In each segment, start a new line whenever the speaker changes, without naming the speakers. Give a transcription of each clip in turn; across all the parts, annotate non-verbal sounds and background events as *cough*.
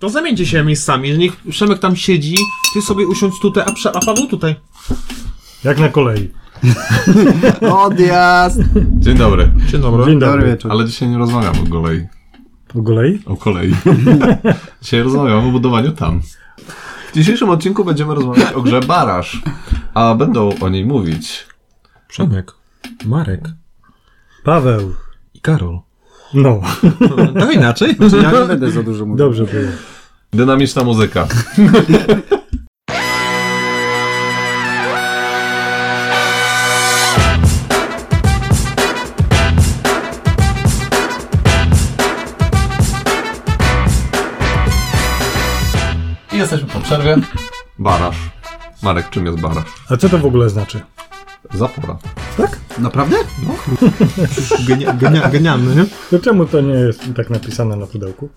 To zamieńcie się miejscami, że niech Przemek tam siedzi, ty sobie usiądź tutaj, a, Prze- a Paweł tutaj.
Jak na kolei.
Odjazd!
Dzień dobry.
Dzień dobry.
Dzień
Dobry
dobry.
wieczór.
Ale dzisiaj nie rozmawiam o kolei.
Po kolei?
O kolei. dzisiaj rozmawiam o budowaniu tam. W dzisiejszym odcinku będziemy rozmawiać o grze Baraż, a będą o niej mówić
Przemek, Marek
Paweł.
i Karol.
No, *laughs*
To *laughs* inaczej?
Ja nie będę za dużo mówił.
dobrze było.
dynamiczna muzyka. I jesteśmy po przerwie. Baraż. Marek, czym jest baraż?
A co to w ogóle znaczy?
Zapora.
Naprawdę?
Genia, genia, genialny, nie?
No czemu to nie jest tak napisane na pudełku?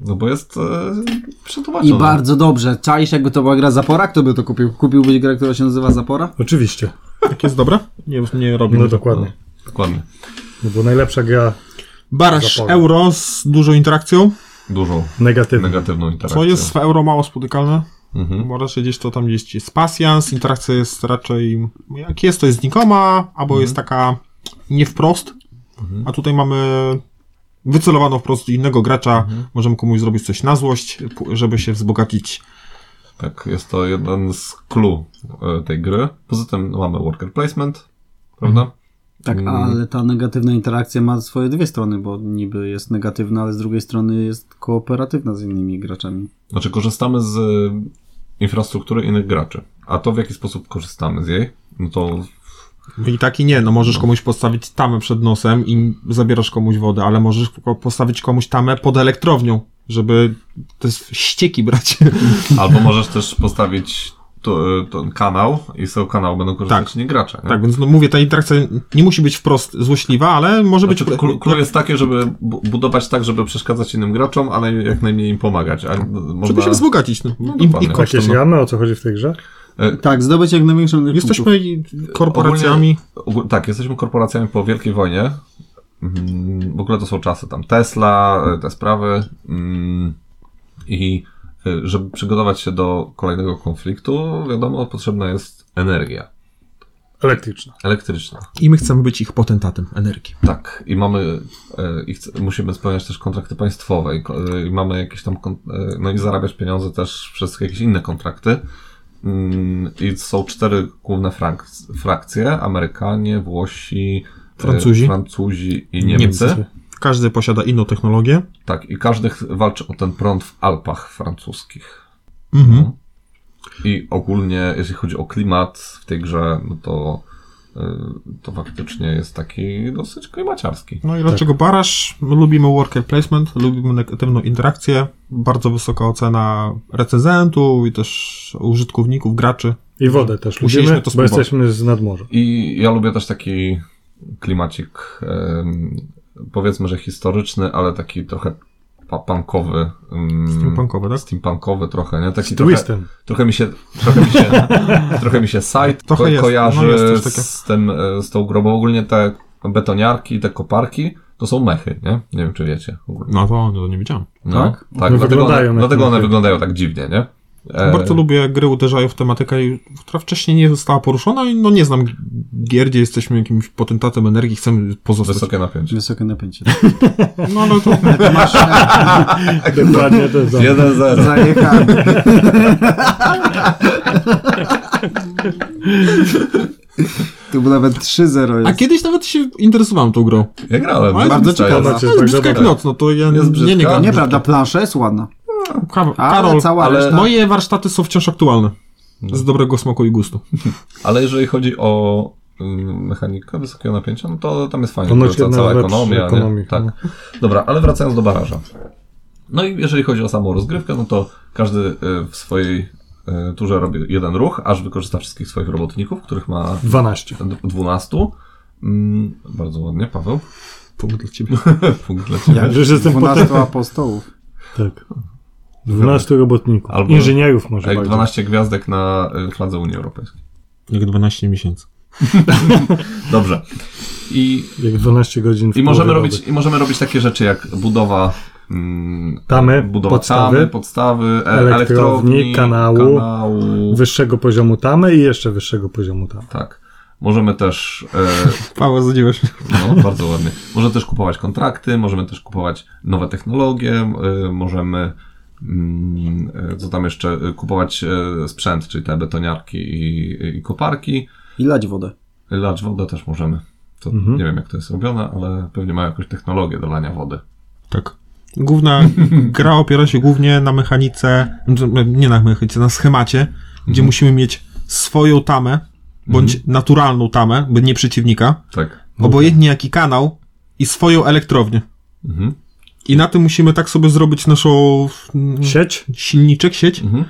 No bo jest e,
I
przetłumaczona.
bardzo dobrze. Czaisz, jakby to była gra Zapora? Kto by to kupił? Kupiłbyś grę, która się nazywa Zapora?
Oczywiście.
Jak Tak jest dobra? Nie, już nie robię.
No dokładnie.
Dokładnie.
No bo najlepsza gra
Baraż
Zapomnę.
euro z dużą interakcją.
Dużą
negatywna.
negatywną interakcją.
Co jest w euro mało spotykalne?
Tak, Mhm.
Bo raczej gdzieś to tam gdzieś jest pasjans, interakcja jest raczej, jak jest, to jest znikoma, albo jest taka nie wprost, a tutaj mamy wycelowaną wprost innego gracza, możemy komuś zrobić coś na złość, pu- żeby się wzbogacić.
Tak, jest to jeden z clue e, tej gry. Poza tym mamy worker placement, prawda?
Mhm.
Tak,
Mm.
ale ta negatywna interakcja ma swoje dwie strony, bo niby jest negatywna, ale z drugiej strony jest kooperatywna z innymi graczami.
Znaczy korzystamy z e, infrastruktury innych graczy. A to w jaki sposób korzystamy z jej? No
*laughs*
to
I tak i nie, no możesz komuś postawić tamę przed nosem i zabierasz komuś wodę, ale możesz ko- postawić komuś tamę pod elektrownią, żeby te s- ścieki brać. *laughs*
albo możesz też postawić tu, e, ten kanał i z tego kanału będą korzystać nie gracze. Nie?
tak, więc no mówię, ta interakcja nie musi być wprost złośliwa, ale może
Znaczy,
być...
clue clue jest takie, żeby bu- budować tak, żeby przeszkadzać innym graczom, ale jak najmniej im pomagać. A e,
Żeby
można...
się wzbogacić. No.
No
I, i
dokładnie.
kosztem,
Jakieś
no.
gramy, Tak, o co chodzi w tej grze?
Tak, zdobyć jak największą liczbę punktów.
Jesteśmy korporacjami.
Ogól- Tak, jesteśmy korporacjami po Wielkiej Wojnie. Mm, W ogóle to są czasy tam Tesla, y, te sprawy. mm, I y, żeby przygotować się do kolejnego konfliktu, wiadomo, potrzebna jest energia
Elektryczna.
elektryczna.
I my chcemy być ich potentatem energii.
Tak, i mamy, y, i chce- musimy spełniać też kontrakty państwowe, i, ko- y, i mamy jakieś tam, kon- y, no i zarabiać pieniądze też przez jakieś inne kontrakty. Mm, I są cztery główne frank, frakcje: Amerykanie, Włosi, y,
Francuzi.
Francuzi i Niemcy.
Każdy posiada inną technologię.
Tak, i każdy ch- walczy o ten prąd w Alpach francuskich.
Mhm.
I ogólnie, jeśli chodzi o klimat w tej grze, no to, y, to faktycznie jest taki dosyć klimaciarski.
No i dlaczego baraż? My lubimy worker placement, lubimy negatywną interakcję, bardzo wysoka ocena recenzentów i też użytkowników, graczy.
I wodę też
Musieliśmy
lubimy,
to
bo
spróbować.
jesteśmy z nadmorza.
I ja lubię też taki klimacik, em, powiedzmy, że historyczny, ale taki trochę pa- punkowy. em,
Steampunkowe, tak?
Steampunkowy trochę, nie? Taki
Z
*laughs*
trochę,
twistem.
trochę mi się, trochę mi się, trochę mi się site
Trochę
ko-
jest,
kojarzy
no jest coś takie.
z tym, e, z tą grą, bo ogólnie te betoniarki, te koparki, to są mechy, nie? Nie wiem, czy wiecie.
No to, to nie wiedziałem.
No,
Tak?
tak
No
dlatego,
wyglądają
one,
jak
dlatego one
mechy.
wyglądają tak dziwnie, nie? E,
Bardzo lubię jak gry uderzają w tematykę, i- która wcześniej nie została poruszona i no nie znam gier, gdzie jesteśmy jakimś potentatem energii, chcemy pozostać.
Wysokie napięcie.
Wysokie *laughs* napięcie.
No ale to...
*laughs*
Tak.
Dokładnie to jest za-
1-0.
*laughs* Zajechałem. tu było nawet 3-0
A
jest.
kiedyś nawet się interesowałem tą grą.
Ja grałem.
Ale
bardzo
wstaję.
ciekawe.
Ona
To
ci jest
jest
tak
brzydka jak
dobra.
noc, no to ja
Jest
nie,
brzydka?
nie gram.
Nie,
Nieprawda, plansza jest ładna.
Ka-
Ale
Karol,
cała
ale
reszta-
moje warsztaty są wciąż aktualne. Z dobrego smaku i gustu.
Ale jeżeli chodzi o ym, mechanikę wysokiego napięcia, no to tam jest fajnie,
Ponoć
to
jedna
cała
z lepszych
ekonomia. nie?
ekonomii,
tak.
no.
Dobra, ale wracając do baraża. No i jeżeli chodzi o samą rozgrywkę, no to każdy y, w swojej y, turze robi jeden ruch, aż wykorzysta wszystkich swoich robotników, których ma
12.
12. Mm, bardzo ładnie, Paweł. *laughs*
Punkt dla ciebie.
Punkt dla ciebie.
Jak- Że jestem
12 apostołów.
Tak. 12 robotników.
Albo-
Inżynierów może
Jak
bardziej.
12 gwiazdek na y, fladze Unii Europejskiej.
*laughs* Jak 12 miesięcy.
Dobrze. I
Jak 12 godzin w
I możemy,
połowie
robić, I możemy robić takie rzeczy jak budowa mm,
Tamy,
budowa
podstawy,
tamy, podstawy e,
elektrowni,
elektrowni,
kanału,
kanału.
Wyższego poziomu tamy i jeszcze wyższego poziomu tamy.
Tak. Możemy też e,
Paweł, zdziwiłeś mnie.
No, *laughs* bardzo ładnie. Możemy też kupować kontrakty, możemy też kupować nowe technologie, y, możemy mm, y, co tam jeszcze, y, kupować y, sprzęt, czyli te betoniarki i, i koparki.
I lać wodę.
Lać wodę też możemy. To
Mhm.
nie wiem jak to jest robione, ale pewnie mają jakąś technologię do lania wody.
Tak. Główna gra opiera się głównie na mechanice, znaczy, nie na mechanice, na schemacie, gdzie musimy mieć swoją tamę, bądź naturalną tamę, by nie przeciwnika,
Tak.
obojętnie jaki kanał i swoją elektrownię.
Mhm.
I na tym musimy tak sobie zrobić naszą mm,
Sieć?
silniczek, sieć,
Mhm.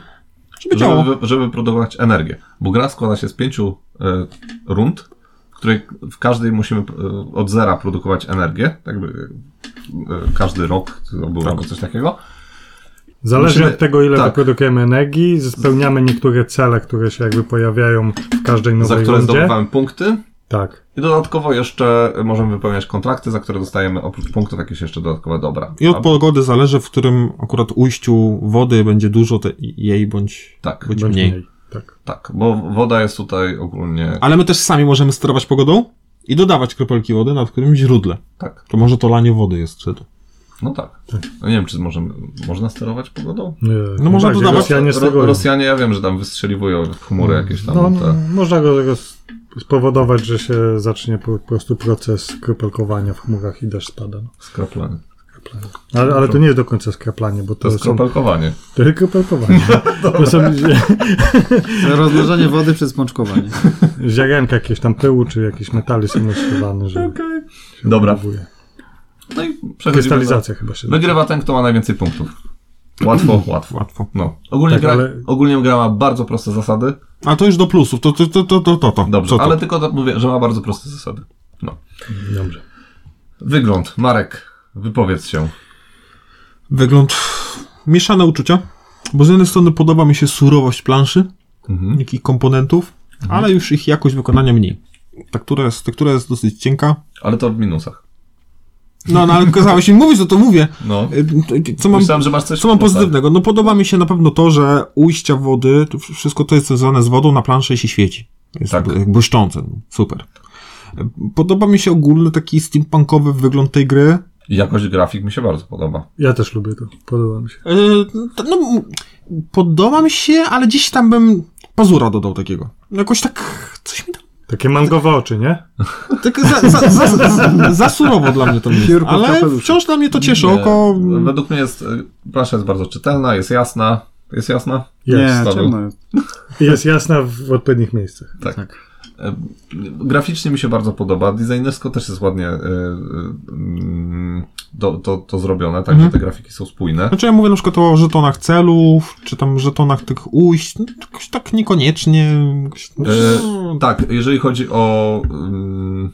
żeby działało.
Żeby, żeby produkować energię. Bo gra składa się z pięciu e, rund, w której w każdej musimy e, od zera produkować energię. Jakby e, każdy rok to
Tak.
był albo coś takiego.
Zależy
Musimy-
od tego, ile
tak.
wyprodukujemy energii, spełniamy niektóre cele, które się jakby pojawiają w każdej
za
nowej
które
rundzie.
zdobywamy punkty.
Tak.
I dodatkowo jeszcze możemy wypełniać kontrakty, za które dostajemy oprócz punktów jakieś jeszcze dodatkowe dobra.
I od
A-
pogody zależy, w którym akurat ujściu wody będzie dużo te, jej bądź,
Tak,
bądź
Bądź
mniej.
Tak.
tak, bo woda jest tutaj ogólnie.
Ale my też sami możemy sterować pogodą i dodawać kropelki wody na którymś źródle.
Tak,
To może to lanie wody jest wtedy.
no tak. No nie wiem, czy możemy, można sterować pogodą?
Nie, tak,
No można
bardziej
dodawać-
Rosjanie z
Ro-
tego.
Rosjanie, ja wiem, że tam wystrzeliwują w chmury jakieś tam.
No,
te...
można go tego s- spowodować, że się zacznie po prostu proces kropelkowania w chmurach i deszcz spada. no.
Skraplanie.
Ale, ale to nie jest do końca skraplanie, bo
To
to,
jest
są,
kropelkowanie.
to jest kropelkowanie.
*laughs*
to są zie-
Rozmnożenie wody przez pączkowanie.
ziarenka jakieś tam pyłu, czy jakieś metale są rozsiewane, że
Dobra.
próbuje.
No i przechodzimy. do-
Krystalizacja chyba się
Wygrywa ten, kto ma najwięcej punktów. Łatwo, łatwo.
Łatwo.
No. Ogólnie,
Tak,
gra,
ale-
ogólnie gra ma bardzo proste zasady.
A to już do plusów, to to, to, to, to, to.
Dobrze,
Co to?
ale tylko to mówię, że ma bardzo proste zasady. No.
Dobrze.
Wygląd. Marek, wypowiedz się.
Wygląd... pff, Mieszane uczucia, bo z jednej strony podoba mi się surowość planszy,
Mhm.
jakich komponentów, ale już ich jakość wykonania mniej. Tektura jest, tektura jest dosyć cienka.
Ale to w minusach.
No, no ale kazałeś mi mówić, no to mówię.
No.
Y, y, Co mam,
Myślałem, że masz coś
Co mam
w minusach.
pozytywnego? No podoba mi się na pewno to, że ujścia wody, to wsz- wszystko to jest związane z wodą, na planszy i się świeci. Jest
Tak.
tak. błyszczące. no, Super. Podoba mi się ogólny taki steampunkowy wygląd tej gry.
Jakość grafik mi się bardzo podoba.
Ja też lubię to, podoba mi się.
Yy, to- no, m- podoba mi się, ale dziś tam bym pazura dodał takiego. Jakoś tak coś mi tam...
Takie mangowe oczy, nie?
Tak za, za, za, za, za surowo dla mnie to jest.
Piórko w
Ale
kapeluszu.
wciąż dla mnie to cieszy
Nie,
oko.
Według mnie jest, y, plansza jest bardzo czytelna, jest jasna. Jest jasna?
Jest.
Nie,
Paweł.
ciemno jest.
Jest jasna w w odpowiednich miejscach.
Tak.
Tak.
Y, Graficznie mi się bardzo podoba. Designersko też jest ładnie y, y, mm, to, to, to zrobione, tak,
Mhm.
że te grafiki są spójne.
Znaczy ja mówię na przykład o żetonach celów, czy tam żetonach tych ujść, no, jakoś tak niekoniecznie. Jakoś,
E,
no,
tak, jeżeli chodzi o. Mm,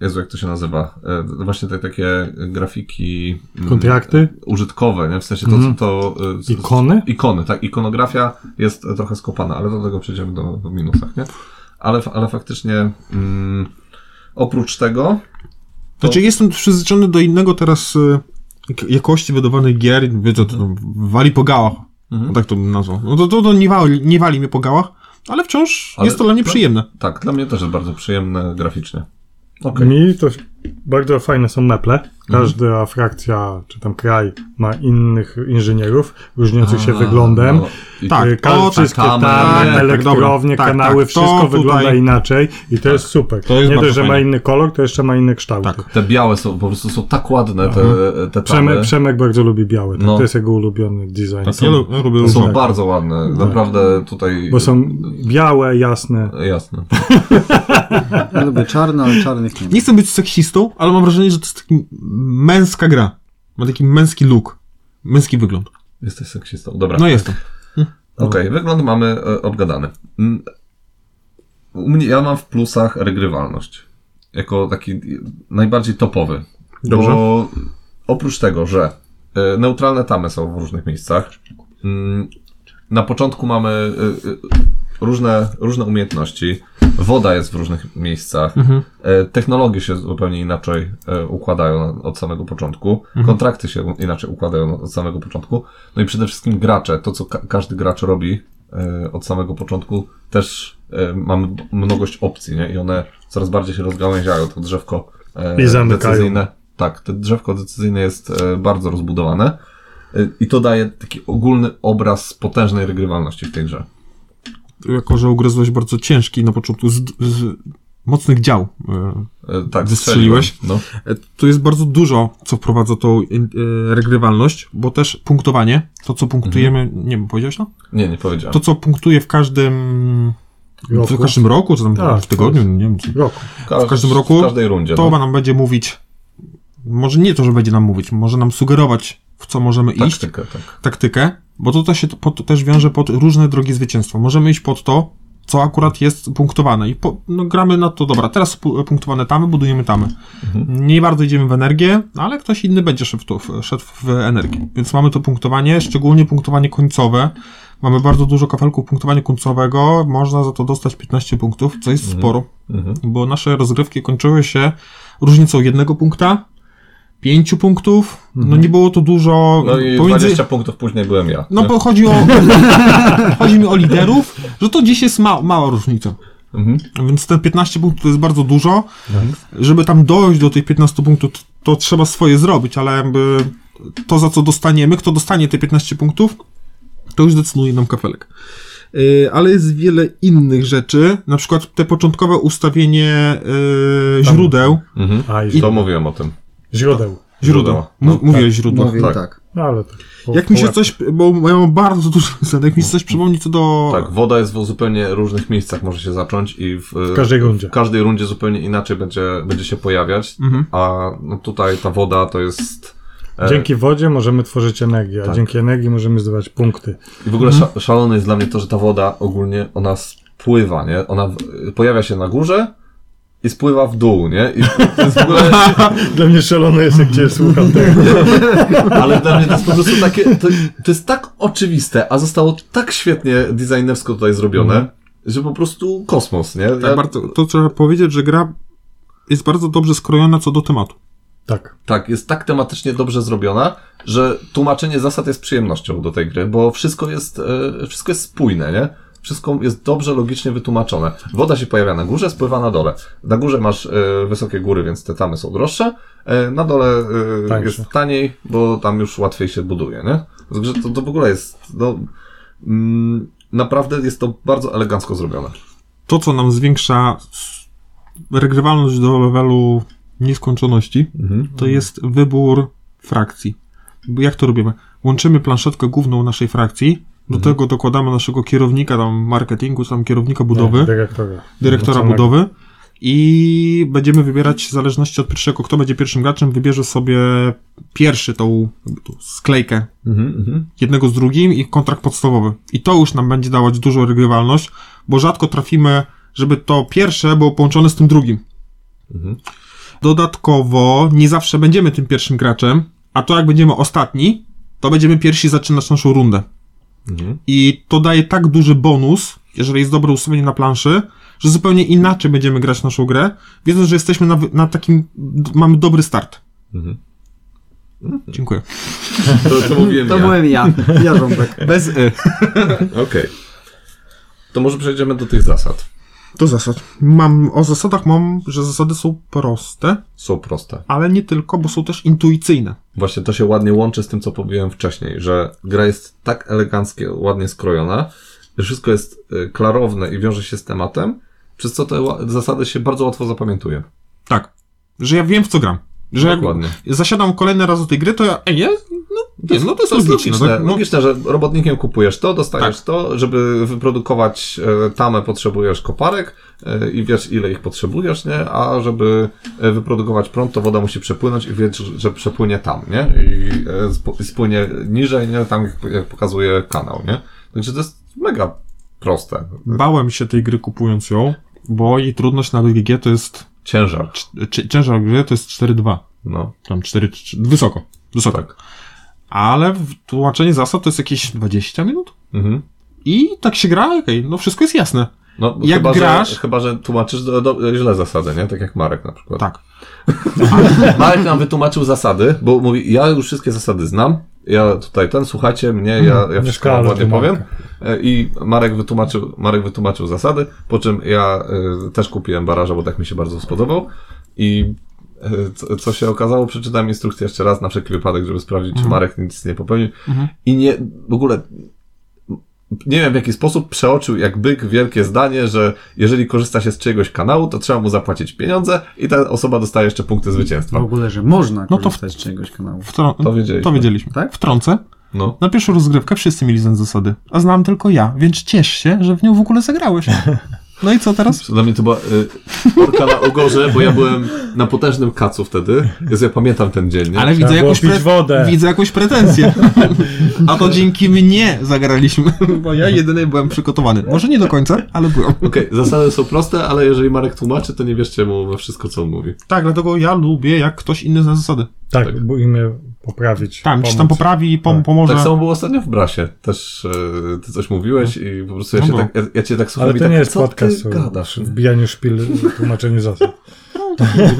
Jezu, jak to się nazywa? E, właśnie te takie grafiki. mm,
Kontrakty,
użytkowe, nie? w sensie to,
Mhm.
to, to y,
Ikony?
Ikony, tak. Ikonografia jest y, trochę skopana, ale do tego przejdziemy do, do minusach, nie? Ale, fa- ale faktycznie mm, oprócz tego
To... Znaczy, jestem przyzwyczajony do innego teraz y, jak- jakości wydawanych gier, wiedzę, to tam wali po gałach,
Mhm.
tak to bym nazwał. No to, to, to nie, wali, nie wali mnie po gałach, ale wciąż
Ale-
jest to dla mnie przyjemne.
tak, dla mnie też jest bardzo przyjemne graficznie. Okej. Mhm.
mi to bardzo fajne są meple. Każda frakcja, czy tam kraj ma innych inżynierów, różniących się
A,
wyglądem.
no, i-
Tak,
Yy, Ka-
o, tak,
wszystkie
tamy,
tamy,
tak,
tak,
elektrownie,
dobra. Tak,
kanały,
tak, to
wszystko
tutaj- tak.
wygląda inaczej i to jest super.
To jest
nie
bardzo
dość, że ma
fajne.
inny kolor, to jeszcze ma inne kształty.
Tak.
Te białe są po prostu są tak ładne, te,
Mhm.
te
Przemek,
tamy.
Przemek bardzo lubi biały, tak?
No.
to jest jego ulubiony design.
Tak, Ja lu- ja lubię
To są
różne.
bardzo ładne, naprawdę tutaj.
tak. Bo są białe, jasne.
Jasne.
Ja lubię czarne, ale czarnych nie ma.
Nie chcę być seksistą, ale mam wrażenie, że to jest taki męska gra. Ma taki męski look. Męski wygląd.
Jesteś seksistą. Dobra.
No jestem.
Okej,
no.
wygląd mamy e, obgadany. Mm, U mnie, ja mam w plusach regrywalność. Jako taki e, najbardziej topowy.
Dobrze.
Bo oprócz tego, że e, neutralne tamy są w różnych miejscach, y, mm, na początku mamy e, e, różne, różne umiejętności, Woda jest w różnych miejscach.
Mhm.
E, Technologie się zupełnie inaczej e, układają od samego początku.
Mhm.
Kontrakty się inaczej układają od samego początku. No i przede wszystkim gracze. To, co ka- każdy gracz robi e, od samego początku, też e, mamy b- mnogość opcji, nie? I one coraz bardziej się rozgałęziają. To drzewko e,
I zamykają.
decyzyjne. Tak, to drzewko decyzyjne jest e, bardzo rozbudowane. E, I to daje taki ogólny obraz potężnej regrywalności w tej grze.
Jako, że ugryzłeś bardzo ciężki na początku z, z mocnych dział. e,
E, Tak,
Wystrzeliłeś?
strzeliłem, No.
E, Tu jest bardzo dużo, co wprowadza tą e, e, regrywalność, bo też punktowanie, to co punktujemy,
Mhm.
nie wiem, powiedziałeś to?
Nie, nie powiedziałem.
To co punktuje w każdym
Roku.
w każdym roku, czy tam
Tak,
w tygodniu, nie wiem, co-
Roku.
Każ-
w każdym roku
W każdej rundzie.
to
no.
ma nam będzie mówić, może nie to, że będzie nam mówić, może nam sugerować, w co możemy iść,
Taktykę, tak.
taktykę, bo to, to się pod, to też wiąże pod różne drogi zwycięstwa. Możemy iść pod to, co akurat jest punktowane i po, no, gramy na to, dobra, teraz pu- punktowane tamy, budujemy tamy.
Mhm.
Nie bardzo idziemy w energię, no, ale ktoś inny będzie szedł w, to, w- szedł w energię. Więc mamy to punktowanie, szczególnie punktowanie końcowe. Mamy bardzo dużo kafelków punktowania końcowego, można za to dostać 15 punktów, co jest sporo,
Mhm.
bo nasze rozgrywki kończyły się różnicą jednego punkta, pięciu punktów, no nie było to dużo.
Mhm. No i
pomiędzy-
20 punktów później byłem ja.
no
nie?
bo chodzi
*laughs*
o. chodzi mi o liderów, że to dziś jest ma, mała różnica.
Mhm.
Więc te 15 punktów to jest bardzo dużo.
Tak.
Żeby tam dojść do tych 15 punktów, to, to trzeba swoje zrobić, ale jakby to, za co dostaniemy, kto dostanie te 15 punktów, to już decyduje nam kafelek. Yy, ale jest wiele innych rzeczy, na przykład te początkowe ustawienie yy, źródeł.
Mhm.
A, i
To mówiłem o tym.
źródeł.
Źródeł.
No,
M- mówię
tak.
źródła.
Mówię
tak.
tak.
No ale tak. po-
Jak mi się
po
coś, bo ja mam bardzo dużo zadań, jak mi się coś przypomni co do...
Tak, woda jest w zupełnie różnych miejscach, może się zacząć i w, e,
W każdej rundzie.
w każdej rundzie zupełnie inaczej będzie, będzie się pojawiać,
Mhm.
a no tutaj ta woda to jest... e,
Dzięki wodzie możemy tworzyć energię, a dzięki energii możemy zdobywać punkty.
I w ogóle sza, szalone jest dla mnie to, że ta woda ogólnie, ona spływa, nie? Ona w, pojawia się na górze i spływa w dół, nie? I to jest w ogóle...
*laughs* Dla mnie szalone jest, jak cię słucham tego.
Ale dla mnie to jest po prostu takie, to, to jest tak oczywiste, a zostało tak świetnie designersko tutaj zrobione, że po prostu kosmos, nie?
Tak, bardzo, to trzeba powiedzieć, że gra jest bardzo dobrze skrojona co do tematu.
*laughs* Tak.
tak, jest tak tematycznie dobrze zrobiona, że tłumaczenie zasad jest przyjemnością do tej gry, bo wszystko jest, e, wszystko jest spójne, nie? Wszystko jest dobrze logicznie wytłumaczone. Woda się pojawia na górze, spływa na dole. Na górze masz e, wysokie góry, więc te tamy są droższe. E, na dole e,
Tańsze.
jest taniej, bo tam już łatwiej się buduje, nie? Także to, to w ogóle jest. No, mm, naprawdę jest to bardzo elegancko zrobione.
To, co nam zwiększa s- regrywalność do levelu nieskończoności,
Mhm.
to
Mhm.
jest wybór frakcji. Bo Jak to robimy? Łączymy planszetkę główną naszej frakcji, do tego dokładamy naszego kierownika tam marketingu, czy tam kierownika budowy.
Mhm. Tak, Dyrektora.
dyrektora
Samego.
budowy i będziemy wybierać w zależności od pierwszego, kto będzie pierwszym graczem, wybierze sobie pierwszy tą, tą sklejkę
Mhm,
jednego z drugim i kontrakt podstawowy. I to już nam będzie dawać dużą regrywalność, bo rzadko trafimy, żeby to pierwsze było połączone z tym drugim. Dodatkowo nie zawsze będziemy tym pierwszym graczem, a to jak będziemy ostatni, to będziemy pierwsi zaczynać naszą rundę.
mhm.
I to daje tak duży bonus, jeżeli jest dobre ustawienie na planszy, że zupełnie inaczej będziemy grać naszą grę, wiedząc, że jesteśmy na, wy- na takim, d- mamy dobry start. Dziękuję.
To, to mówiłem
To
ja.
byłem ja, ja Rąbek.
*laughs* Bez y.
Okej. To może przejdziemy do tych zasad.
Do zasad. Mam, o zasadach mam, że zasady są proste,
Są proste.
ale nie tylko, bo są też intuicyjne.
Właśnie to się ładnie łączy z tym, co powiedziałem wcześniej, że gra jest tak eleganckie, ładnie skrojona, że wszystko jest y, klarowne i wiąże się z tematem, przez co te ła- zasady się bardzo łatwo zapamiętuje.
Tak. Że ja wiem, w co gram. Że jak
Dokładnie.
zasiadam kolejny raz do tej gry, to ja, ej, jest, no, jest, no to jest logiczne.
logiczne,
tak? No, Tak.
logiczne, że robotnikiem kupujesz to, dostajesz to, żeby wyprodukować e, tamę potrzebujesz koparek e, i wiesz ile ich potrzebujesz, nie? A żeby e, wyprodukować prąd, to woda musi przepłynąć i wiesz, że przepłynie tam, nie? I e, sp- i spłynie niżej, nie? Tam jak- jak pokazuje kanał, nie? Także to jest mega proste.
bałem się tej gry kupując ją, bo jej trudność na BGG to jest,
Ciężar.
cz- cz- ciężar gry to jest 4-2.
No,
tam 4, wysoko, wysoko.
tak.
Ale w- tłumaczenie zasad to jest jakieś 20 minut
Mhm.
i tak się gra, okej, no wszystko jest jasne.
No,
Jak
chyba,
grasz-
Że, chyba, że tłumaczysz do, do, źle zasady, nie? Tak jak Marek na przykład.
Tak.
Marek nam wytłumaczył zasady, bo mówi, ja już wszystkie zasady znam, ja tutaj ten, słuchajcie mnie, ja, ja wszystko
szkoda,
wam ładnie
że
powiem.
Marka.
E, I Marek wytłumaczył, Marek wytłumaczył zasady, po czym ja y, też kupiłem baraża, bo tak mi się bardzo spodobał. I y, co, co się okazało, przeczytałem instrukcję jeszcze raz na wszelki wypadek, żeby sprawdzić, czy Marek nic nie popełnił. I nie, w ogóle nie wiem w jaki sposób przeoczył jak byk wielkie zdanie, że jeżeli korzysta się z czyjegoś kanału, to trzeba mu zapłacić pieniądze i ta osoba dostaje jeszcze punkty
W
zwycięstwa.
ogóle, że można
No to w-
korzystać z czegoś kanału.
Wtro-
To wiedzieliśmy.
To wiedzieliśmy.
Tak?
Wtrącę.
No.
Na pierwszą rozgrywkę wszyscy mieli znane zasady, a znam tylko ja, więc ciesz się, że w nią w ogóle *laughs* zagrałeś. No i co teraz?
Dla mnie to była y, orka na ugorze, bo ja byłem na potężnym kacu wtedy. Jezu, ja pamiętam ten dzień, nie?
Ale widzę
Trzeba było
jakąś,
pić wodę.
widzę jakąś *laughs* pretensję. A to dzięki mnie zagraliśmy, *laughs* bo ja jedyny byłem przygotowany. Może nie do końca, ale byłem.
Okej, zasady są proste, ale jeżeli Marek tłumaczy, to nie wierzcie mu we wszystko, co on mówi.
Tak, dlatego ja lubię, jak ktoś inny zna zasady.
Tak,
Tak.
bo imię poprawić.
Tam,
pomóc.
czy Tak, tam poprawi, pom-
Tak.
pomoże.
Tak samo było ostatnio w Brasie. Też y, ty coś mówiłeś i po prostu ja,
No
się
no.
tak, ja, ja cię tak słucham
Ale
i
to
tak,
nie jest
co
podcast
ty
o
gadasz?
wbijaniu szpil, *laughs* tłumaczeniu zasad.
Ale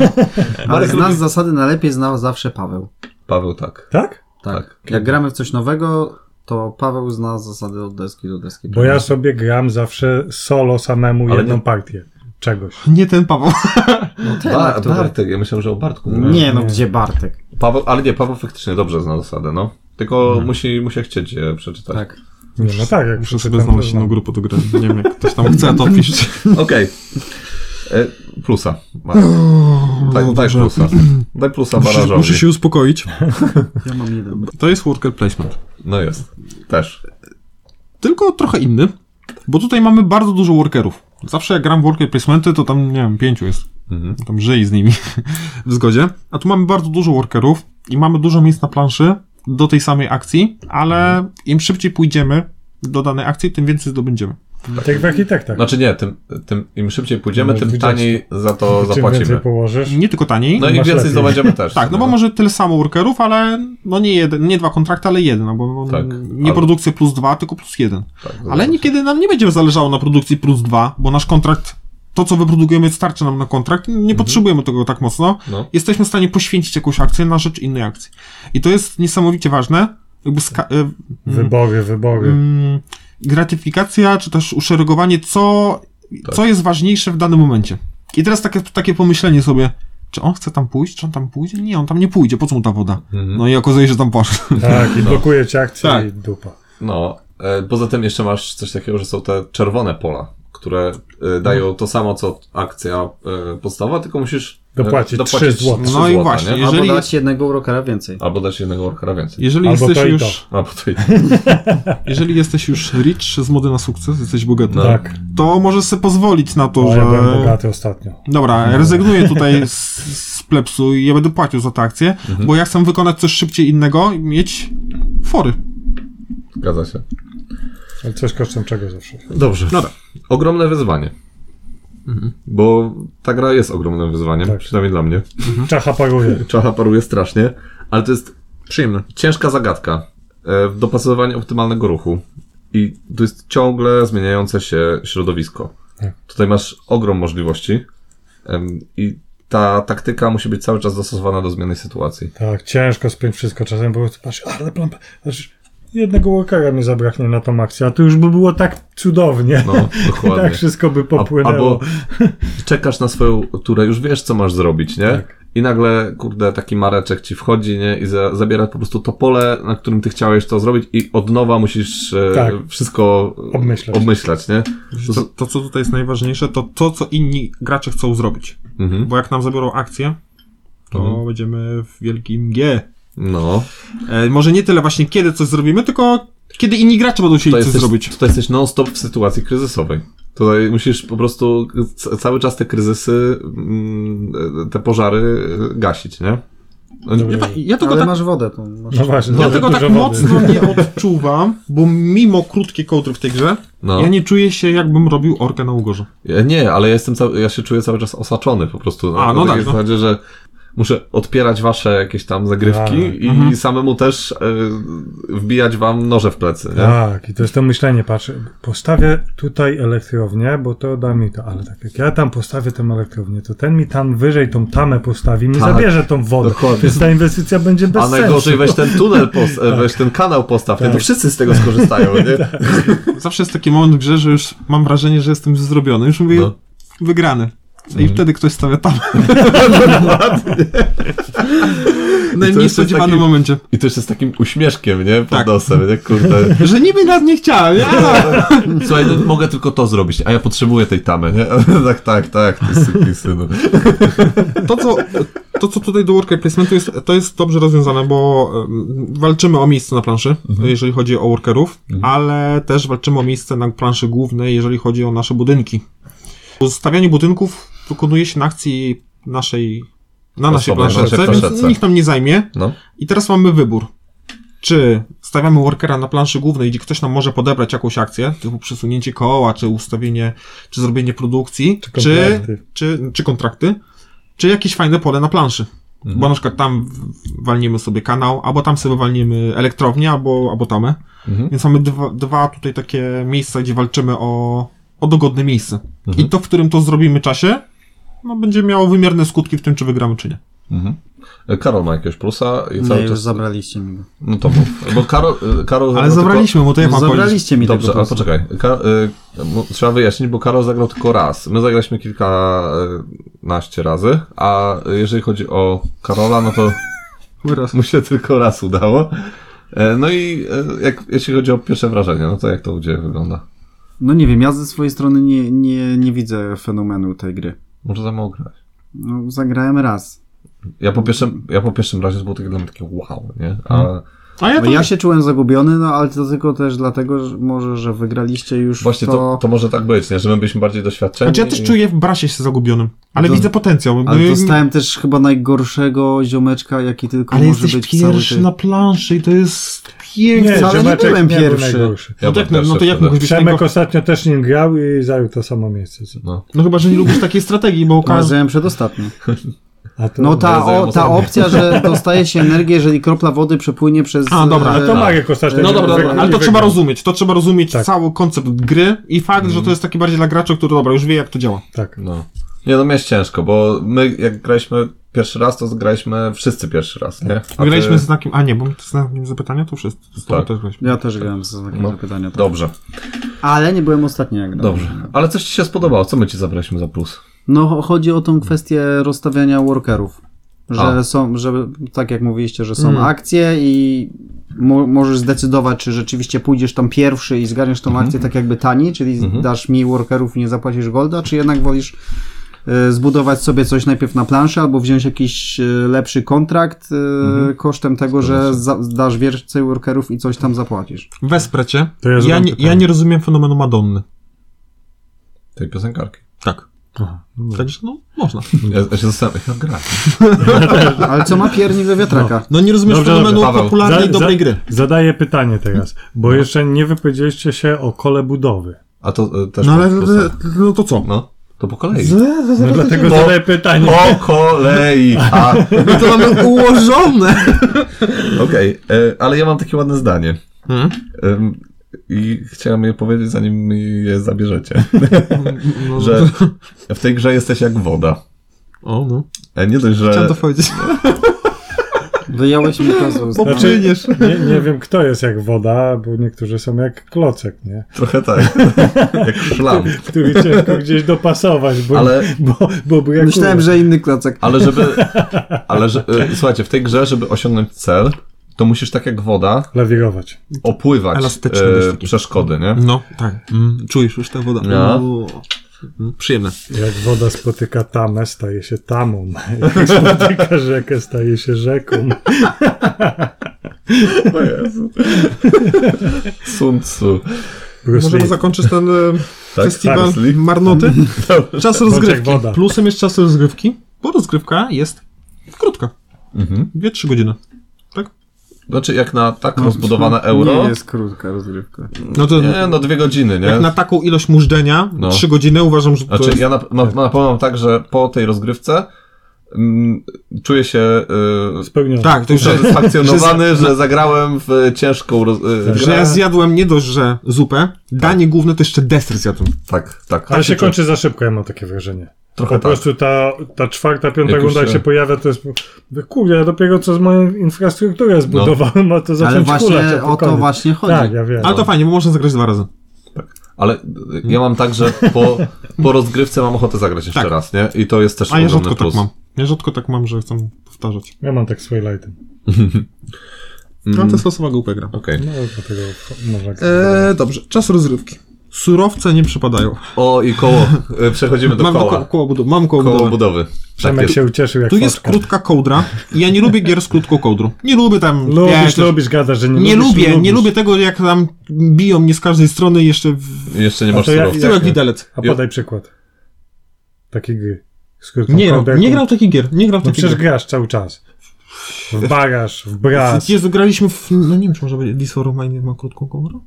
Marek
z nas
lubi-
zasady najlepiej znał zawsze Paweł.
Paweł, tak.
Tak?
Tak.
Tak.
Jak gramy w coś nowego, to Paweł zna zasady od deski do deski.
Bo ja sobie gram zawsze solo samemu
Ale
jedną
nie-
partię. Czegoś.
Nie ten *laughs* Paweł.
no ten,
Ba-
który-
Bartek, ja myślałem, że o Bartku. mówię.
Nie, no gdzie Bartek?
Paweł, ale nie, Paweł faktycznie dobrze zna zasadę, no. Tylko
Mhm.
musi, musi chcieć je przeczytać.
Tak.
Nie, no tak, jak
Muszę sobie
przeczytam, to
znaleźć
znam.
inną grupę do gry. Nie wiem, jak ktoś tam chce, *laughs* to piszcie.
Okej. E, Plusa. Marek. Daj, daj
No, dobrze.
plusa. Daj plusa
Muszę,
barażowi.
muszę się uspokoić.
Ja mam jeden.
To jest worker placement.
No jest. Też.
Tylko trochę inny, bo tutaj mamy bardzo dużo workerów. Zawsze jak gram w worker placementy, to tam, nie wiem, pięciu jest.
Mhm.
Tam żyj z nimi *laughs* w zgodzie. A tu mamy bardzo dużo workerów i mamy dużo miejsc na planszy do tej samej akcji, ale
Mhm.
im szybciej pójdziemy do danej akcji, tym więcej zdobędziemy.
Tak jak w architektach.
Znaczy nie, tym, tym im szybciej pójdziemy,
No,
tym
widzicie.
taniej za to
Czym więcej
zapłacimy.
położysz,
Nie tylko taniej.
No i
Masz
więcej
lepiej.
zdobędziemy też.
Tak, no bo może tyle samo workerów, ale no nie jeden, nie dwa kontrakty, ale jeden, no bo
Tak,
no, nie
ale-
produkcja plus dwa, tylko plus jeden.
Tak,
Ale niekiedy nam nie będzie zależało na produkcji plus dwa, bo nasz kontrakt, to co wyprodukujemy starczy nam na kontrakt, nie
Mhm.
potrzebujemy tego tak mocno.
No.
Jesteśmy w stanie poświęcić jakąś akcję na rzecz innej akcji. I to jest niesamowicie ważne, jakby ska- y,
wybory, wybory.
mm, gratyfikacja, czy też uszeregowanie, co,
Tak.
co jest ważniejsze w danym momencie. I teraz takie, takie pomyślenie sobie, czy on chce tam pójść, czy on tam pójdzie? Nie, on tam nie pójdzie, po co mu ta woda? No i okazuje się, że tam poszedł. *laughs*
Tak, i blokuje ci akcję
Tak.
i dupa.
No, e, poza tym jeszcze masz coś takiego, że są te czerwone pola, które e, dają to samo, co akcja e, podstawowa, tylko musisz e,
Dopłacić trzy
trzy
złote.
złota,
No i właśnie,
nie?
jeżeli-
Albo dać jednego urokara więcej.
Albo dać jednego workera więcej.
Jeżeli
Albo
jesteś
to i to.
już,
A, bo to i...
jeżeli jesteś już rich z mody na sukces, jesteś bogaty,
No.
Tak.
to możesz sobie pozwolić na to,
No,
że...
ja byłem bogaty ostatnio.
Dobra, rezygnuję *laughs* tutaj z, z plepsu i ja będę płacił za tę akcję,
Mhm.
bo ja chcę wykonać coś szybciej innego i mieć fory.
Zgadza się.
Ale coś kosztem czego zawsze.
Dobrze. No tak. Ogromne wyzwanie. Bo ta gra jest ogromnym wyzwaniem,
Mhm. Tak.
przynajmniej dla mnie.
Czacha paruje.
Czacha paruje strasznie, ale to jest
Przyjemne.
ciężka zagadka. e, Dopasowywanie optymalnego ruchu. I to jest ciągle zmieniające się środowisko.
Tak.
Tutaj masz ogrom możliwości em, i ta taktyka musi być cały czas dostosowana do zmiennej sytuacji.
Tak, ciężko spiąć wszystko czasem, bo patrz, ale plan... Patrz, jednego workera mi zabraknie na tą akcję, a to już by było tak cudownie.
No, *laughs* dokładnie.
*laughs* tak wszystko by
A-
popłynęło.
Albo *laughs* czekasz na swoją turę, już wiesz, co masz zrobić, nie?
Tak.
I nagle, kurde, taki mareczek ci wchodzi, nie? I za, zabiera po prostu to pole, na którym ty chciałeś to zrobić i od nowa musisz e,
Tak.
wszystko e,
Obmyślać.
obmyślać nie?
To, to, co tutaj jest najważniejsze, to to, co inni gracze chcą zrobić.
Mhm.
Bo jak nam zabiorą akcję, to
Mhm.
będziemy w wielkim G.
No.
E, może nie tyle właśnie kiedy coś zrobimy, tylko kiedy inni gracze będą chcieli
To
coś
jesteś,
zrobić.
to jesteś non-stop w sytuacji kryzysowej. Tutaj musisz po prostu c- cały czas te kryzysy, mm, e, te pożary e, gasić, nie? No, nie
Dobra.
Ja- Ja tego
Ale
tak,
masz wodę, to masz...
No właśnie,
ja
nawet
tego tak
dużo wody.
mocno nie
*laughs*
odczuwam, bo mimo krótkiej kołdry w tej grze,
No.
ja nie czuję się jakbym robił orkę na Ugorze.
E, Ja nie, ale ja jestem cały, ja się czuję cały czas osaczony po prostu.
A, no
na
tak,
takiej
no.
zasadzie, że muszę odpierać wasze jakieś tam zagrywki
Tak.
i samemu też e, wbijać wam noże w plecy. Nie?
Tak, i to jest to myślenie, patrzę, postawię tutaj elektrownię, bo to da mi to, ale tak jak ja tam postawię tę elektrownię, to ten mi tam wyżej tą tamę postawi, mi
Tak,
zabierze tą wodę,
dokładnie.
więc ta inwestycja będzie bez
A najgorzej
sensu. Tak.
weź ten
*laughs*
tunel, pos- e, weź ten kanał postaw, nie? to wszyscy z tego skorzystają.
*laughs*
Nie?
Zawsze jest taki moment w grze, że już mam wrażenie, że jestem zrobiony. Już mówię,
No. Mhm.
wygrany. I wtedy ktoś stawia
*laughs*
tam. W *laughs* najmniej
jest
spodziewanym
taki-
momencie.
I to jeszcze z takim uśmieszkiem, nie? Pod
Tak.
nosem, nie? Kurde.
Że niby nad nie chciałem, nie?
*laughs*
*laughs*
Słuchaj, no, mogę tylko to zrobić, a ja potrzebuję tej tamy, nie? *laughs* tak, tak, tak, ty syk, ty synu.
to, co, to, co tutaj do worker placementu jest, to jest dobrze rozwiązane, bo em, walczymy o miejsce na planszy, jeżeli chodzi o workerów, ale też walczymy o miejsce na planszy głównej, jeżeli chodzi o nasze budynki. Stawianie budynków wykonuje się na akcji naszej, na naszej
Osobnej,
planszerce,
naszej
więc
planszerce.
nikt nam nie zajmie.
No.
I teraz mamy wybór. Czy stawiamy workera na planszy głównej, gdzie ktoś nam może podebrać jakąś akcję, typu przesunięcie koła, czy ustawienie, czy zrobienie produkcji, czy, czy,
kontrakty.
czy, kontrakty, czy jakieś fajne pole na planszy. Bo na przykład tam w- walniemy sobie kanał, albo tam sobie walniemy elektrownię, albo, albo tamę. Więc mamy dwa, dwa tutaj takie miejsca, gdzie walczymy o, o dogodne miejsce. I to, w którym to zrobimy czasie, no, będzie miało wymierne skutki w tym, czy wygramy, czy nie.
E, Karol ma jakiegoś plusa
No
i
Nie,
cały
już
czas...
zabraliście mi go. No
No to mów. Bo Karol... e, Karol
Ale
zagrał
No, zabraliśmy mu, to ja mam powiedzieć.
Zabraliście mi
Tylko... Dobrze,
tego
ale
plusa.
poczekaj. Ka... e, mo- Trzeba wyjaśnić, bo Karol zagrał tylko raz. My zagraliśmy kilkanaście razy, a jeżeli chodzi o Karola, no to...
Wyraz.
mu się tylko raz udało. E, No i e, jak, jeśli chodzi o pierwsze wrażenie, no to jak to u Ciebie wygląda?
No nie wiem, ja ze swojej strony nie, nie, nie widzę fenomenu tej gry.
Może za mało grać.
No, zagrałem raz.
Ja po pierwszym, ja po pierwszym razie to było takie dla mnie takie wow, nie? A
A ja
No,
to
ja się czułem zagubiony, no ale to tylko też dlatego, że może, że wygraliście już
właśnie to... To, może tak być, nie? Że my byliśmy bardziej doświadczeni.
Znaczy ja też
i-
czuję w brasie się zagubionym, ale
To-
widzę potencział.
Ale
No i-
dostałem też chyba najgorszego ziomeczka, jaki tylko
ale
może
jesteś
być
pierwszy
cały
na planszy i to jest piękne.
Nie,
wcale nie
Ziomaczek
byłem
nie był
pierwszy.
najgorszy.
Ja
no, tak, no,
też
no to jak
wtedy.
mógłbyś być
Przemek
tego-
ostatnio też nim grał i zajął to samo miejsce. co-
No.
No chyba, że nie lubisz takiej strategii, bo
ten...
każdy...
Zająłem przedostatni.
*laughs*
A to,
No
tak,
ta,
Zająłem
o, ta
ostatni.
opcja,
*laughs*
że dostaje się energię, jeżeli kropla wody przepłynie przez...
A, dobra,
e,
ale
to Marek ostatnio
No
nie
dobra, dobra,
wygrał.
ale
Nie
to trzeba
wygrał.
rozumieć, to trzeba rozumieć
Tak.
cały koncept gry i fakt, że to jest taki bardziej dla gracza, który dobra, już wie jak to działa.
Tak.
No. Nie, no miałeś ciężko, bo my jak graliśmy pierwszy raz, to graliśmy wszyscy pierwszy raz, nie? A
Wygraliśmy
ty-
z znakiem, a nie, bo z znakiem zapytania to wszyscy. z tobą
Tak.
też graliśmy.
Ja też grałem ze znakiem
No.
zapytania. Tak.
Dobrze,
Ale nie byłem ostatni jak grałem.
dobrze. Ale coś Ci się spodobało, co my Ci zabraliśmy za plus?
No cho- chodzi o tą kwestię rozstawiania workerów. Że
A.
są, że tak jak mówiliście, że są
Mm.
akcje i mo możesz zdecydować, czy rzeczywiście pójdziesz tam pierwszy i zgarniesz tą akcję tak jakby taniej, czyli dasz mniej workerów i nie zapłacisz golda, czy jednak wolisz e, zbudować sobie coś najpierw na planszy albo wziąć jakiś e, lepszy kontrakt e, kosztem tego, że za- dasz więcej workerów i coś tam zapłacisz.
Wesprę cię.
To ja
ja,
zadam
nie,
pytanie.
ja nie rozumiem fenomenu Madonny.
Tej piosenkarki.
Tak. Także no, można.
Ja, ja się zastanawiam, jak grać.
Ale co ma piernik do wiatraka?
No
*laughs*
nie rozumiesz
Dobrze, dobrze,
fenomenu
Paweł.
popularnej,
Za-
dobrej
za-
gry. No.
Zadaję pytanie teraz, bo jeszcze nie wypowiedzieliście się o kole budowy.
A to e, też
No ale,
masz plusa.
no to co?
No, to po kolei.
No dlatego
Bo-
zadaję pytanie.
Po kolei! A,
No to mamy ułożone.
Okej, e, ale ja mam takie ładne zdanie.
Hmm?
Em, I chciałem je powiedzieć, zanim mi
*laughs*
je zabierzecie.
No,
Że w tej grze jesteś jak woda.
O, no. E,
E, Nie dość, że...
Chciałem to powiedzieć.
No, Wyjąłeś mi to z ust.
Znaczy, nie, nie wiem, kto jest jak woda, bo niektórzy są jak klocek, nie?
Trochę tak. *laughs* jak szlam.
Który ciężko gdzieś dopasować, bo,
Ale-
bo, bo by jak
Myślałem, że inny klocek.
Ale żeby... Ale że, e, słuchajcie, w tej grze, żeby osiągnąć cel, to musisz tak jak woda
Lawirować.
opływać e,
Elastyczny jest taki.
przeszkody, nie?
No, tak. Mm, czujesz już tę wodę.
No.
Uuu. Mm, Przyjemne.
Jak woda spotyka tamę, staje się tamą. *laughs* Jak spotyka rzekę, staje się rzeką.
O Jezu. Sun Tzu.
Bruce
Możemy
Lee.
zakończyć ten e,
Tak,
festiwal
Bruce Lee.
marnoty. *laughs* Czas rozgrywki.
woda.
Plusem jest czas rozgrywki, bo rozgrywka jest krótka.
Mhm.
2-3 godziny. Tak?
Znaczy, jak na tak rozbudowane euro...
Nie jest krótka rozgrywka.
No to
Nie, no dwie godziny, nie?
jak na taką ilość mużdżenia,
No.
3 godziny uważam, że to
Znaczy,
jest...
ja na, na, na pewno mam tak, że po tej rozgrywce mm, czuję się y,
Spełniony.
Tak, to już
usatysfakcjonowany, że zagrałem w e, ciężką roz... e,
Że ja
grę.
zjadłem nie dość, że zupę, danie główne to jeszcze deser zjadłem.
Tak, tak.
Ale
tak
się
czuję.
kończy za szybko, ja mam takie wrażenie. po
Trochę tak.
prostu ta, ta czwarta, piąta
Jakoś
runda jak
się-
się pojawia, to jest kurde, ja dopiero co z moją infrastrukturą zbudowałem, a to zacząć
Ale właśnie
hulać, a to
o to
koniec.
właśnie chodzi.
Tak, ja wiem.
Ale
No.
to fajnie, bo można zagrać dwa razy.
Ale y, ja mam tak, że po, po rozgrywce mam ochotę zagrać jeszcze
Tak.
raz, nie? I to jest też
A ja
ogromny
rzadko
plus.
tak mam. Ja rzadko tak mam, że chcę powtarzać.
Ja mam tak swoje lighty.
No to jest losowa głupia gra.
Okej.
No, dlatego f- można...
Eee, dobrze, czas rozrywki. Surowce nie przypadają.
O i koło. E, Przechodzimy do
Mam
koła.
koło, koło budowy. Mam koło,
Koło
budowy.
budowy. Tak
Przemek
jest.
się ucieszył jak
Tu jest
foczka.
krótka kołdra. i Ja nie lubię gier z krótką kołdrą. Nie lubię tam...
Lubisz,
wiesz,
lubisz, gadasz, że nie,
Nie
lubisz,
lubię,
lubisz.
nie lubię tego, jak tam biją mnie z każdej strony i jeszcze w
Jeszcze nie
A
masz
to ja-
surowca.
tyłek
Jasne.
widelec.
A podaj przykład. Takiej gry. Z krótką
Nie, no,
kołderką.
nie grał takich gier, nie grał
No
takich
przecież
gier.
grasz cały czas. W bagaż, w
*laughs*
bras.
Jezu, graliśmy w... No nie wiem, czy może będzie This War of Mine ma krótką kołdrę?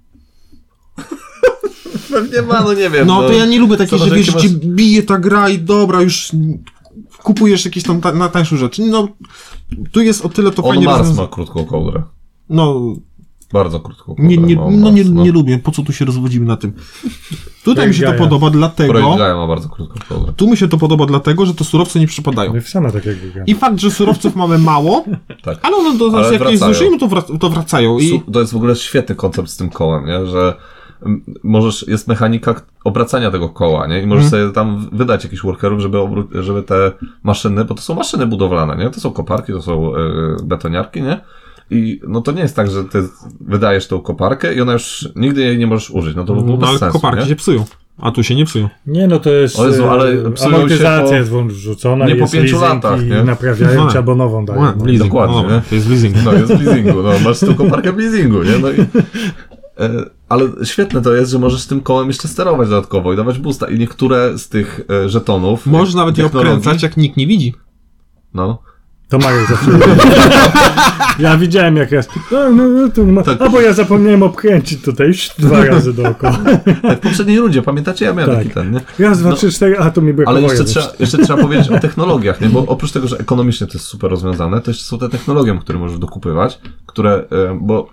Pewnie ma, no nie wiem.
No to ja nie lubię takich, że
zależy,
wiesz,
jakie
cię bije ta gra i dobra, już kupujesz jakieś tam ta, na tańsze rzeczy. No, tu jest o tyle to
On
fajnie
Mars
rozwiąza-
ma krótką kołdrę.
No,
Bardzo krótką kołdrę.
nie, nie,
ma On
no
Mars,
nie, nie lubię, po co tu się rozwodzimy na tym. Tutaj mi się to
Gaia.
podoba
Projekt
dlatego,
Gaia ma bardzo krótką kołdrę.
tu mi się to podoba dlatego, że te surowce nie przypadają.
Nie No w sama takiego gra.
I fakt, że surowców mamy mało,
*laughs* Tak.
ale one do nas
Ale
jak je
wracają.
zużyjemy, to, wrac- to wracają. I
Su- To jest w ogóle świetny koncept z tym kołem, nie? że mm, możesz, jest mechanika k- obracania tego koła, nie? I możesz
Mhm.
sobie tam wydać jakichś workerów, żeby, obró- żeby te maszyny, bo to są maszyny budowlane, nie? To są koparki, to są e, betoniarki, nie? I no to nie jest tak, że ty wydajesz tą koparkę i ona już nigdy jej nie możesz użyć, no to by było
no,
bez
ale
sensu,
koparki
nie?
się psują, a tu się nie psują.
Nie, no to jest.
O Jezu,
e,
ale psują się
amortyzacja
po-
jest wrzucona,
nie
i
po
jest
pięciu
leasing
latach,
i
nie?
naprawiają
No
cię
tak.
albo nową dają.
Ładnie,
No.
leasing.
dokładnie,
no, dobra,
nie?
to jest leasing.
No jest w leasingu, no masz tą koparkę w leasingu, nie? No i, e, ale świetne to jest, że możesz tym kołem jeszcze sterować dodatkowo i dawać boosta i niektóre z tych e, żetonów.
Można nawet je
technologii-
obkręcać, jak nikt nie widzi.
No.
To Marek zawsze. mówi. *laughs* ja widziałem jak raz. No, no, no, tu ma...
Tak. No.
A bo ja zapomniałem obkręcić tutaj już
*laughs*
dwa razy dookoła.
Tak, w poprzedniej rundzie, pamiętacie? Ja miałem
Tak.
taki ten, nie?
Raz, dwa,
No.
trzy, cztery, a to mi brakowało.
Ale jeszcze
jeden.
trzeba, jeszcze trzeba powiedzieć o technologiach, nie? Bo oprócz tego, że ekonomicznie to jest super rozwiązane, to jeszcze są te technologie, które możesz dokupywać, które, e, bo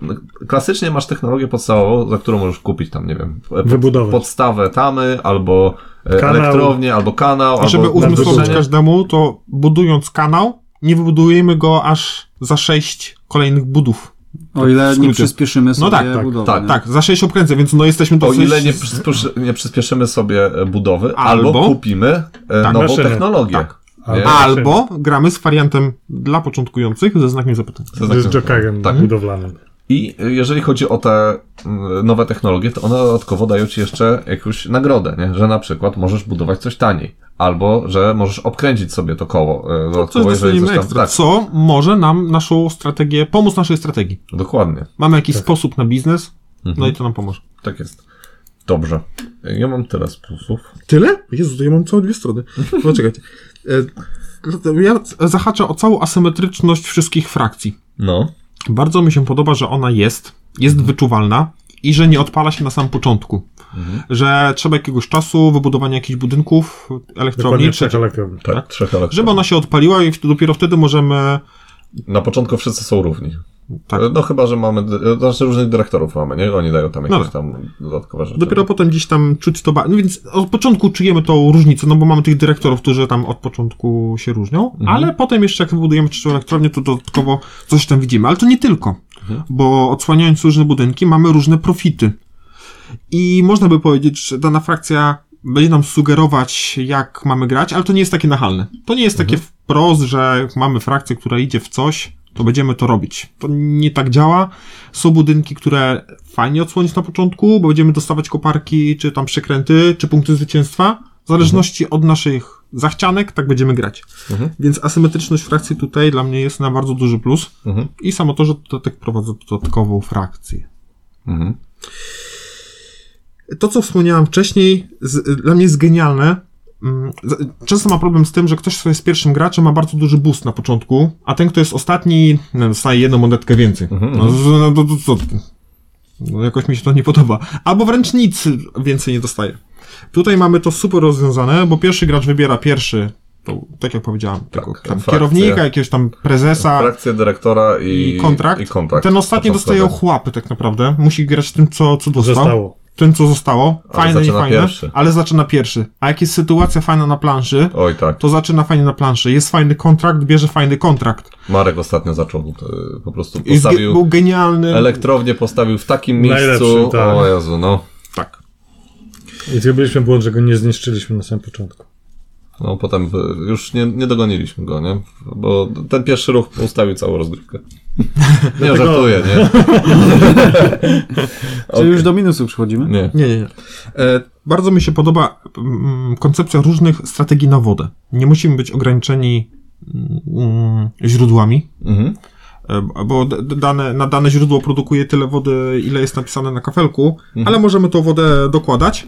klasycznie masz technologię podstawową, za którą możesz kupić tam, nie wiem, e, pod-
Wybudować.
podstawę tamy, albo e,
Kanał.
elektrownię, albo kanał,
A żeby
albo
uzmysłowić
wyburzenie.
każdemu, to budując kanał, nie wybudujemy go aż za sześć kolejnych budów.
O ile
w
nie
skrócie.
przyspieszymy sobie
tak, tak,
budowy. nie?
Tak, za sześć okręcę, więc no jesteśmy
Mhm. O
dosyć...
ile nie, przyspiesz- nie przyspieszymy sobie e, budowy, albo,
Albo-
kupimy e,
Tak,
nową
maszyny.
technologię.
Tak.
Nie?
Albo gramy z wariantem dla początkujących ze znakiem zapytania.
To znaczy-
Z Jokerem
Tak.
budowlanym.
I jeżeli chodzi o te mm, nowe technologie, to one dodatkowo dają ci jeszcze jakąś nagrodę, nie? że na przykład możesz budować coś taniej, albo że możesz obkręcić sobie to koło e,
Coś
dodatkowo, jeżeli
dostaniemy
coś tam...
ekstra,
Tak,
co może nam naszą strategię, pomóc naszej strategii.
Tak, dokładnie,
Mamy jakiś sposób na biznes, no i to nam pomoże.
tak jest. Dobrze, ja mam teraz plusów.
Tyle? Jezu, to ja mam całe dwie strony. Poczekajcie. E, Ja zahaczę o całą asymetryczność wszystkich frakcji.
No,
Bardzo mi się podoba, że ona jest, jest wyczuwalna i że nie odpala się na sam początku. Że trzeba jakiegoś czasu, wybudowania jakichś budynków, elektrowni,
Dokładnie
czy,
przed elektrowni.
tak, trzech elektrów.
żeby ona się odpaliła i wtedy, dopiero wtedy możemy...
Na początku wszyscy są równi.
Tak.
E, No chyba, że mamy, e, znaczy różnych dyrektorów mamy, nie? Oni dają tam jakieś
Dobra.
tam dodatkowe rzeczy.
Dopiero potem gdzieś tam czuć to... Ba- no więc od początku czujemy tą różnicę, no bo mamy tych dyrektorów, którzy tam od początku się różnią, ale potem jeszcze jak wybudujemy trzecią elektrownię, to dodatkowo coś tam widzimy. Ale to nie tylko, bo odsłaniając różne budynki mamy różne profity. I można by powiedzieć, że dana frakcja będzie nam sugerować, jak mamy grać, ale to nie jest takie nachalne. To nie jest takie wprost, że jak mamy frakcję, która idzie w coś, to będziemy to robić. To nie tak działa. Są budynki, które fajnie odsłonić na początku, bo będziemy dostawać koparki, czy tam przekręty, czy punkty zwycięstwa. W zależności od naszych zachcianek, tak będziemy grać.
Mhm.
Więc asymetryczność frakcji tutaj dla mnie jest na bardzo duży plus.
Mhm.
I samo to, że dodatek prowadzę dodatkową frakcję.
Mhm.
to, co wspomniałem wcześniej, z, dla mnie jest genialne. Mm, z- Często mam problem z tym, że ktoś, kto jest pierwszym graczem, ma bardzo duży boost na początku, a ten, kto jest ostatni, no, dostaje jedną monetkę więcej. No, z- no, to, to, co ty? no, jakoś mi się to nie podoba. Albo wręcz nic więcej nie dostaje. Tutaj mamy to super rozwiązane, bo pierwszy gracz wybiera pierwszy to, tak jak powiedziałem, tylko tam
frakcje.
kierownika, jakiegoś tam prezesa
Frakcję dyrektora i,
i kontrakt.
I kontrakt.
Ten ostatni
To są
dostaje
wtedy.
ochłapy tak naprawdę. Musi grać tym, co, co dostał.
Zostało.
Tym, co zostało.
Ale
Fajne,
zaczyna
niefajne,
pierwszy.
ale zaczyna pierwszy. A jak jest sytuacja fajna na planszy,
Oj tak,
to zaczyna fajnie na planszy. Jest fajny kontrakt, bierze fajny kontrakt.
Marek ostatnio zaczął e, po prostu
I zge- był
postawił
genialny.
elektrownię postawił w takim
Najlepszy,
miejscu.
tak.
O Jezu, no.
Tak.
I zrobiliśmy błąd, że go nie zniszczyliśmy na samym początku.
No potem w- już nie, nie dogoniliśmy go, nie? Bo ten pierwszy ruch ustawił całą rozgrywkę. nie żartuję, nie?
Czyli już do minusów przechodzimy?
*laughs*
Nie.
Nie, nie, nie.
E,
Bardzo mi się podoba mm, koncepcja różnych strategii na wodę. Nie musimy być ograniczeni mm, źródłami,
mhm.
e, bo d- d- dane, na dane źródło produkuje tyle wody, ile jest napisane na kafelku,
Mhm.
ale możemy tą wodę dokładać,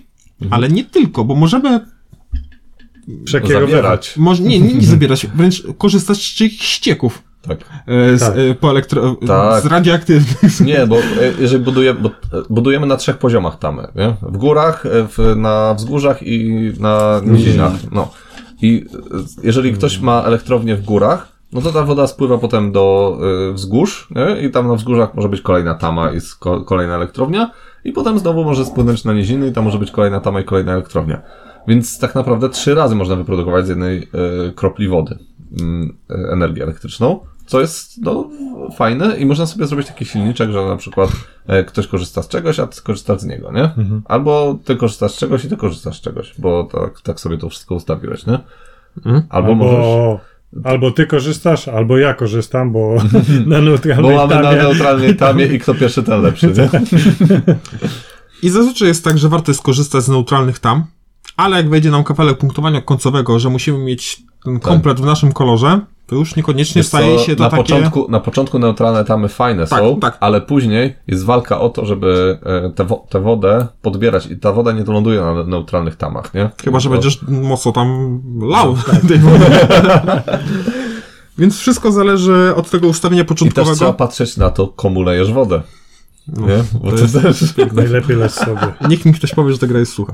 ale nie tylko, bo możemy,
Przekierowywać.
Zabierać.
moż, nie, nie,
*laughs*
nie zabierać, wręcz korzystać z czyichś ścieków.
Tak.
e, Z,
Tak.
e, po elektro...
Tak.
z radioaktywnych. *laughs*
Nie, bo e, jeżeli budujemy, bo e, budujemy na trzech poziomach tamy, nie? W górach, e, w, na wzgórzach i na nizinach, no. I e, jeżeli ktoś ma elektrownię w górach, no to ta woda spływa potem do e, wzgórz, nie? I tam na wzgórzach może być kolejna tama i z- ko- kolejna elektrownia. I potem znowu może spłynąć na niziny i tam może być kolejna tama i kolejna elektrownia. Więc tak naprawdę trzy razy można wyprodukować z jednej e, kropli wody mm, e, energię elektryczną, co jest no, fajne i można sobie zrobić taki silniczek, że na przykład e, ktoś korzysta z czegoś, a ty korzystasz z niego, nie? Albo ty korzystasz z czegoś i ty korzystasz z czegoś, bo tak, tak sobie to wszystko ustawiłeś, nie? Albo, możesz...
Albo, albo ty korzystasz, albo ja korzystam,
*laughs*
bo *laughs* na
Bo
neutralnej
mamy na
tamie
neutralnej tamie i kto pierwszy, ten lepszy, nie?
I zazwyczaj jest tak, że warto jest korzystać z neutralnych tam, ale jak wejdzie nam kapelek punktowania końcowego, że musimy mieć ten komplet w naszym kolorze, to już niekoniecznie
Tak. Wiesz co,
staje się to
na
takie...
Początku, na początku neutralne tamy fajne
Tak,
są,
tak.
ale później jest walka o to, żeby e, tę wo- tę wodę podbierać i ta woda nie ląduje na neutralnych tamach, nie?
Chyba, że
Bo-
będziesz mocno tam lał
No, tak.
tej wody. *laughs* Więc wszystko zależy od tego ustawienia
I też trzeba
początkowego.
patrzeć na to, komu lejesz wodę. nie? Bo to też...
najlepiej lec sobie.
Niech mi ktoś powie, że ta gra jest sucha.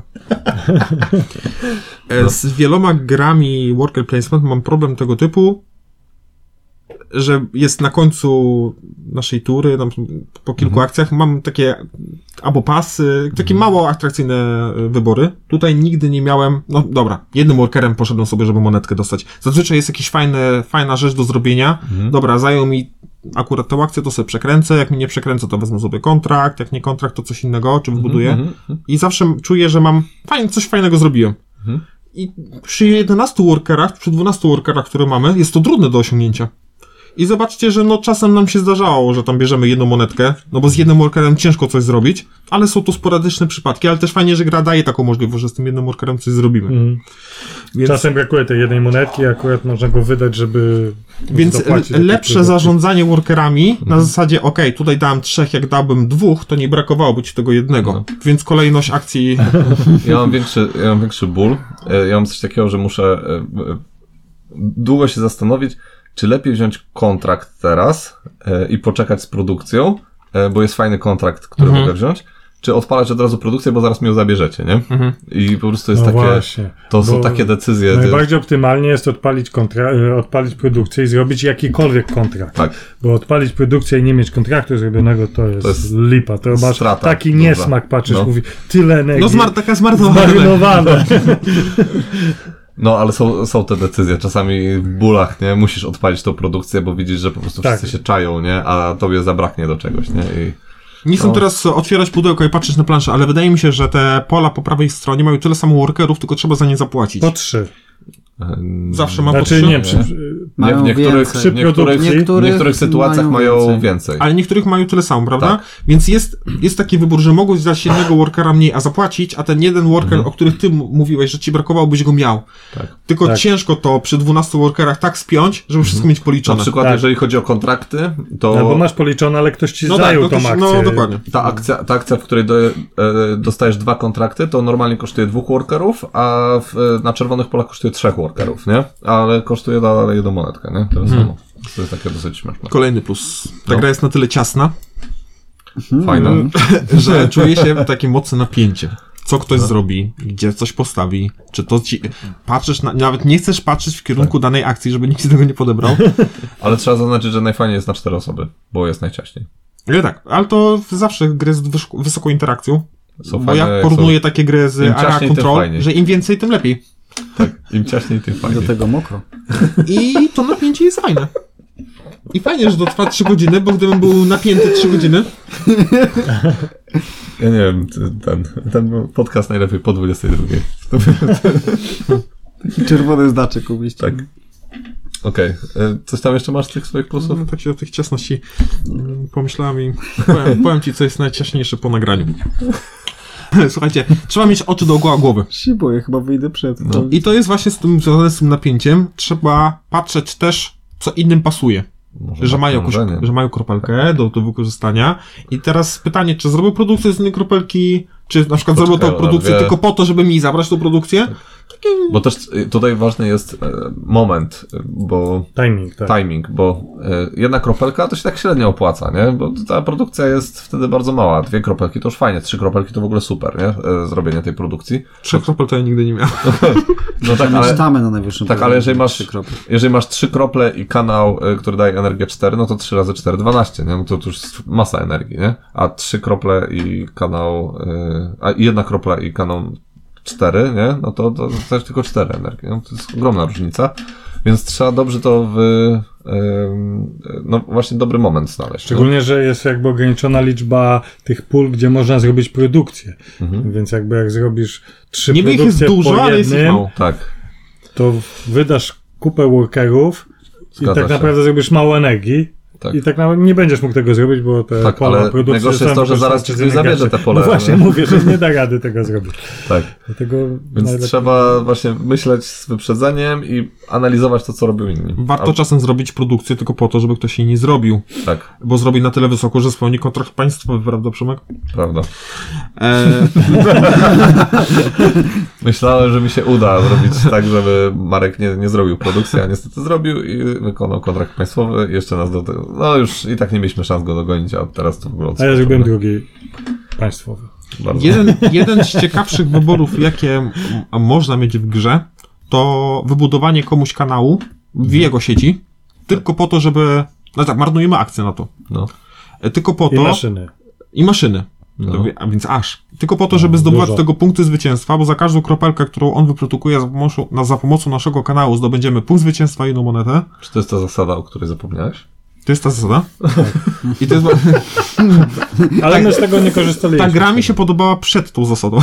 E, Z wieloma grami worker placement mam problem tego typu, że jest na końcu naszej tury, tam po kilku akcjach, mam takie albo pasy, takie mało atrakcyjne e, wybory. Tutaj nigdy nie miałem, no dobra, jednym workerem poszedłem sobie, żeby monetkę dostać. Zazwyczaj jest jakaś fajne, fajna rzecz do zrobienia. Dobra, zajął mi akurat tą akcję, to sobie przekręcę, jak mi nie przekręcę, to wezmę sobie kontrakt, jak nie kontrakt, to coś innego, czy wbuduję.
Mhm.
I zawsze m- czuję, że mam fajnie, coś fajnego zrobiłem.
Mhm.
I przy 11 workerach, przy 12 workerach, które mamy, jest to trudne do osiągnięcia. I zobaczcie, że no czasem nam się zdarzało, że tam bierzemy jedną monetkę, no bo z jednym workerem ciężko coś zrobić, ale są to sporadyczne przypadki, ale też fajnie, że gra daje taką możliwość, że z tym jednym workerem coś zrobimy.
Mhm.
Więc,
Czasem brakuje tej jednej monetki, akurat można go wydać, żeby
więc
zapłacić za
le-
te Mhm.
lepsze
produkty.
zarządzanie workerami na zasadzie, okej, tutaj dałem trzech, jak dałbym dwóch, to nie brakowałoby ci tego jednego.
No.
Więc kolejność akcji
Ja mam większy, ja mam większy ból. E, Ja mam coś takiego, że muszę e, e, długo się zastanowić, czy lepiej wziąć kontrakt teraz e, i poczekać z produkcją, e, bo jest fajny kontrakt, który
Mhm.
mogę wziąć, czy odpalać od razu produkcję, bo zaraz mi ją zabierzecie, nie? I po prostu jest
Mhm. No
takie.
właśnie,
To są
bo
takie decyzje. ty-
Najbardziej optymalnie jest odpalić, kontra- e, odpalić produkcję i zrobić jakikolwiek kontrakt.
Tak.
Bo odpalić produkcję i nie mieć kontraktu zrobionego to jest,
To jest
lipa. To masz
strata
taki
duża.
niesmak, patrzysz,
No.
mówi tyle energii. *laughs*
No zmar taka zmarnowana.
zmarnowane.
No ale są, są te decyzje. Czasami w bólach, nie? Musisz odpalić tą produkcję, bo widzisz, że po prostu
Tak.
wszyscy się czają, nie? A tobie zabraknie do czegoś, nie? I...
Nie
No.
chcę teraz otwierać pudełko i patrzeć na planszę, ale wydaje mi się, że te pola po prawej stronie mają tyle samo workerów, tylko trzeba za nie zapłacić.
Po trzy.
em,
Zawsze mam po
Znaczy
trzy,
nie, przy,
Nie,
Mają
w niektórych,
Przy
w niektórych,
produkcji-
w niektórych
Niektórych
sytuacjach mają
mają
więcej.
więcej.
ale niektórych mają tyle samo, prawda?
Tak.
Więc jest, jest taki wybór, że mogą dać jednego workera mniej, a zapłacić, a ten jeden worker, o których ty m- mówiłeś, że ci brakowało, byś go miał.
Mhm. Tak. Mhm.
Tylko
Tak.
ciężko to przy 12 workerach tak spiąć, żeby wszystko mieć
Na
policzone.
przykład,
Tak.
jeżeli chodzi o kontrakty, to
No bo masz policzone, ale ktoś ci
no tak,
zajął
no, to,
tą
się-
akcję.
e,
no dokładnie.
ta, akcja, ta akcja, w której do, e, dostajesz dwa kontrakty, to normalnie kosztuje dwóch workerów, a w, e, na czerwonych polach kosztuje trzech workerów, nie? Ale kosztuje dalej jedną monetkę, nie? Tyle
Mhm.
samo. To jest takie dosyć śmieszne.
Kolejny plus. Ta
No.
gra jest na tyle ciasna,
Fajne.
że czuję się takie mocne napięcie. co ktoś
Tak.
zrobi, gdzie coś postawi, czy to ci... Patrzysz na... Nawet nie chcesz patrzeć w kierunku
Tak.
danej akcji, żeby nikt ci tego nie
*laughs*
podebrał.
Ale trzeba zaznaczyć, że najfajniej jest na cztery osoby, bo jest najciaśniej.
Nie tak, ale to zawsze gry z wysz- wysoką interakcją.
Są
bo
fajne,
No ja
jak
porównuję takie gry z
Im
Area
ciaśniej, tym
Control,
fajniej.
że im więcej, tym lepiej.
Są, Im ciaśniej, tym
Do
fajniej.
tego mokro.
I to napięcie jest fajne. I fajnie, że to trwa 3 godziny, bo gdybym był napięty 3 godziny,
Ja nie wiem, ty- ten, ten był podcast najlepiej po 22.
Czerwony znaczek ubić.
Tak. *laughs* Okej, e, coś tam jeszcze masz z tych swoich plusów?
no, tak się do tych ciasności mm, pomyślałem i powiem, *laughs* powiem ci, co jest najciaśniejsze po nagraniu. *laughs* Słuchajcie, trzeba mieć oczy dookoła głowy.
Się boję, chyba wyjdę przed.
No.
I to jest właśnie z tym, związane z tym napięciem. Trzeba patrzeć też, co innym pasuje.
Może
że
tak,
mają,
może
kosz,
nie.
że mają kropelkę do, do wykorzystania. I teraz pytanie, czy zrobił produkcję z innej kropelki, czy na przykład
Poczekaj, Tak.
zrobił tą
ona
produkcję
wie.
tylko po to, żeby mi zabrać tą produkcję? Takie...
Bo też y, tutaj ważny jest e, moment, y, bo
Timing, tak.
timing, bo y, jedna kropelka to się tak średnio opłaca, nie? Bo ta produkcja jest wtedy bardzo mała. Dwie kropelki to już fajnie, trzy kropelki to w ogóle super, nie? E, Zrobienie tej produkcji.
Trzech kropel to ja nigdy nie miałem.
No tak,
Ale...
ale,
Czytamy na najwyższym
tak,
poziomie.
ale jeżeli masz,
Trzy kropki.
jeżeli masz trzy krople i kanał, y, który daje energię 4, no to 3 razy 4, 12, nie? No to, to już jest masa energii, nie? A trzy krople i kanał, y, a i jedna kropla i kanał 4, nie? No to, to, to jest tylko 4 energii, no to jest ogromna różnica. Więc trzeba dobrze to w, ym, no właśnie dobry moment znaleźć. nie?
Szczególnie, że jest jakby ograniczona liczba tych pól, gdzie można zrobić produkcję.
Mhm.
Więc jakby jak zrobisz trzy
Niby ich jest
produkcje
dużo,
po
ale jest ich
jednym,
mało.
Tak.
to wydasz kupę workerów
Zgadza
i tak
się.
naprawdę zrobisz mało energii.
Tak.
I tak naprawdę nie będziesz mógł tego zrobić, bo te
Tak,
pola
ale
produkcji
najgorsze jest
zostaną
to, że zaraz
wykorzystane
ci
przez inne
zabierze
graczy.
te pole.
No właśnie, mówię, że nie da rady tego zrobić.
Tak.
Dlatego
Więc
najlepiej-
trzeba właśnie myśleć z wyprzedzeniem i analizować to, co robią inni.
Warto czasem zrobić produkcję tylko po to, żeby ktoś jej nie zrobił,
A, tak,
bo zrobi na tyle wysoko, że spełni kontrakt państwowy, prawda Przemek?
prawda.
*laughs*
E,
Myślałem, że mi się uda zrobić tak, żeby Marek nie, nie zrobił produkcji, a niestety zrobił i wykonał kontrakt państwowy. i Jeszcze nas do tego. No już i tak nie mieliśmy szans go dogonić, a teraz to wygląda.
A ja zrobiłem drugi państwowy.
Bardzo.
jeden, jeden z ciekawszych wyborów, jakie m- można mieć w grze, to wybudowanie komuś kanału
Mhm.
w jego sieci, tylko po to, żeby... No tak, marnujemy akcję na to.
No.
E, Tylko po
I
to... Tak.
maszyny.
I maszyny.
No.
A więc aż. Tylko po to, żeby zdobywać
No, dużo.
do tego punkty zwycięstwa, bo za każdą kropelkę, którą on wyprodukuje za pomocą, na, za pomocą naszego kanału zdobędziemy punkt zwycięstwa i jedną monetę.
Czy to jest ta zasada, o której zapomniałeś?
To jest ta zasada.
Tak.
I
*laughs*
to jest,
Ale my z tego nie korzystaliśmy.
ta gra mi się podobała przed tą zasadą.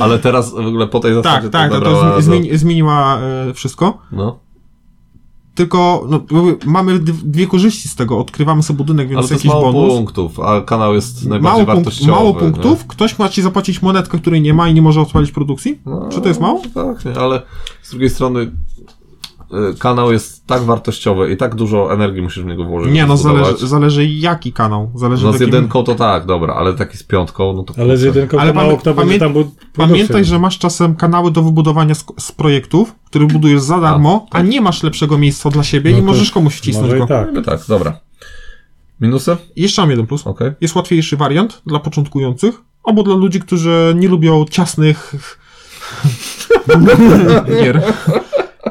Ale teraz w ogóle po tej zasadzie
tak, tak, to,
nabrała
to
do-
zmieni, zmieniła e, wszystko.
No.
Tylko no, jakby mamy d- dwie korzyści z tego. Odkrywamy sobie budynek,
Ale
więc
to jest
jakiś
mało
bonus.
punktów, a kanał jest najbardziej
Mało, punkt,
wartościowy.
mało
nie?
punktów. Ktoś ma ci zapłacić monetkę, której nie ma i nie może odpalić produkcji?
No,
Czy to jest mało?
Tak, nie, ale z drugiej strony y, kanał jest tak wartościowy i tak dużo energii musisz w niego włożyć.
Nie, no
zbudować.
zależy, zależy jaki kanał. Zależy
No
w
z
jakim-
jedynką to tak, dobra, ale taki z piątką, no to...
Ale z
kurczę.
jedynką
Ale
to mało
pamię-
kto będzie
pamię-
tam był
Pamiętaj, że masz czasem kanały do wybudowania z, z projektów, które budujesz za darmo, a,
tak.
nie masz lepszego miejsca dla siebie
No
i
to
możesz komuś wcisnąć
Może
go.
i tak.
Niby tak, dobra. Minusy?
Jeszcze mam jeden plus.
Okej.
Jest łatwiejszy wariant dla początkujących, albo dla ludzi, którzy nie lubią ciasnych *laughs* gier.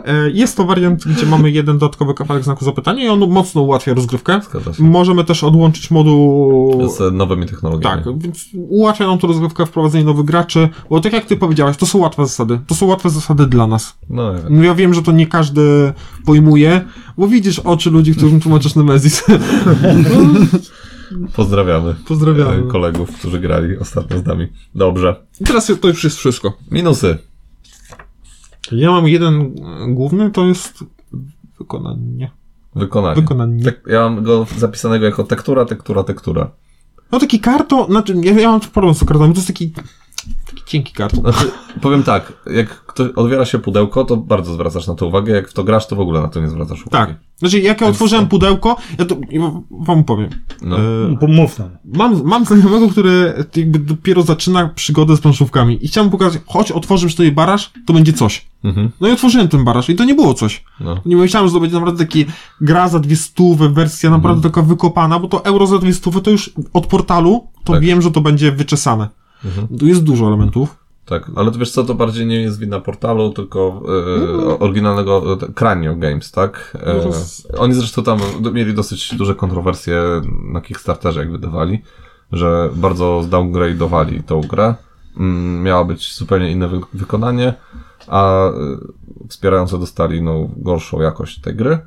E, Jest to wariant, gdzie mamy jeden dodatkowy kawałek znaku zapytania i on mocno ułatwia rozgrywkę.
Zgadza się.
Możemy też odłączyć moduł
Z nowymi technologiami.
Tak, więc ułatwia nam to rozgrywkę, wprowadzenie nowych graczy, bo tak jak ty powiedziałeś, to są łatwe zasady. To są łatwe zasady dla nas.
No, nie wiem.
No ja wiem, że to nie każdy pojmuje, bo widzisz oczy ludzi, którym tłumaczysz Nemezis.
pozdrawiamy.
Pozdrawiamy.
e, Kolegów, którzy grali ostatnio z nami. Dobrze.
I *laughs* Teraz to już jest wszystko.
Minusy.
Ja mam jeden e, główny, to jest wykonanie.
Wykonanie.
Wykonanie.
Tek- ja mam go zapisanego jako tektura, tektura, tektura.
No taki karton, znaczy ja, ja mam problem z kartami, to jest taki, taki cienki karton.
Znaczy, powiem tak, jak ktoś odbiera się pudełko, to bardzo zwracasz na to uwagę, jak w to grasz, to w ogóle na to nie zwracasz uwagi.
Tak. Znaczy jak ja
Więc-
otworzyłem pudełko, ja to ja wam powiem.
No.
E,
Mów nam.
Mam, mam znajomego, który jakby dopiero zaczyna przygodę z planszówkami i chciałem pokazać, choć otworzysz tutaj baraż, to będzie coś.
Mhm.
No i otworzyłem ten baraż i to nie było coś.
No.
Nie myślałem, że to będzie naprawdę taki gra za dwie stówy, wersja
Mhm.
naprawdę taka wykopana, bo to euro za dwie stówy to już od portalu, to
Tak. Mhm.
wiem, że to będzie wyczesane. Tu jest dużo elementów.
Tak, ale to wiesz co, to bardziej nie jest wina portalu, tylko e, oryginalnego e, Cranio Games, tak? E,
No to s-
Oni zresztą tam do- mieli dosyć duże kontrowersje na Kickstarterze, jak wydawali, że bardzo zdowngrade'owali tą grę. Mm, Miało być zupełnie inne wy- wykonanie, a e, wspierający dostali no, gorszą jakość tej gry.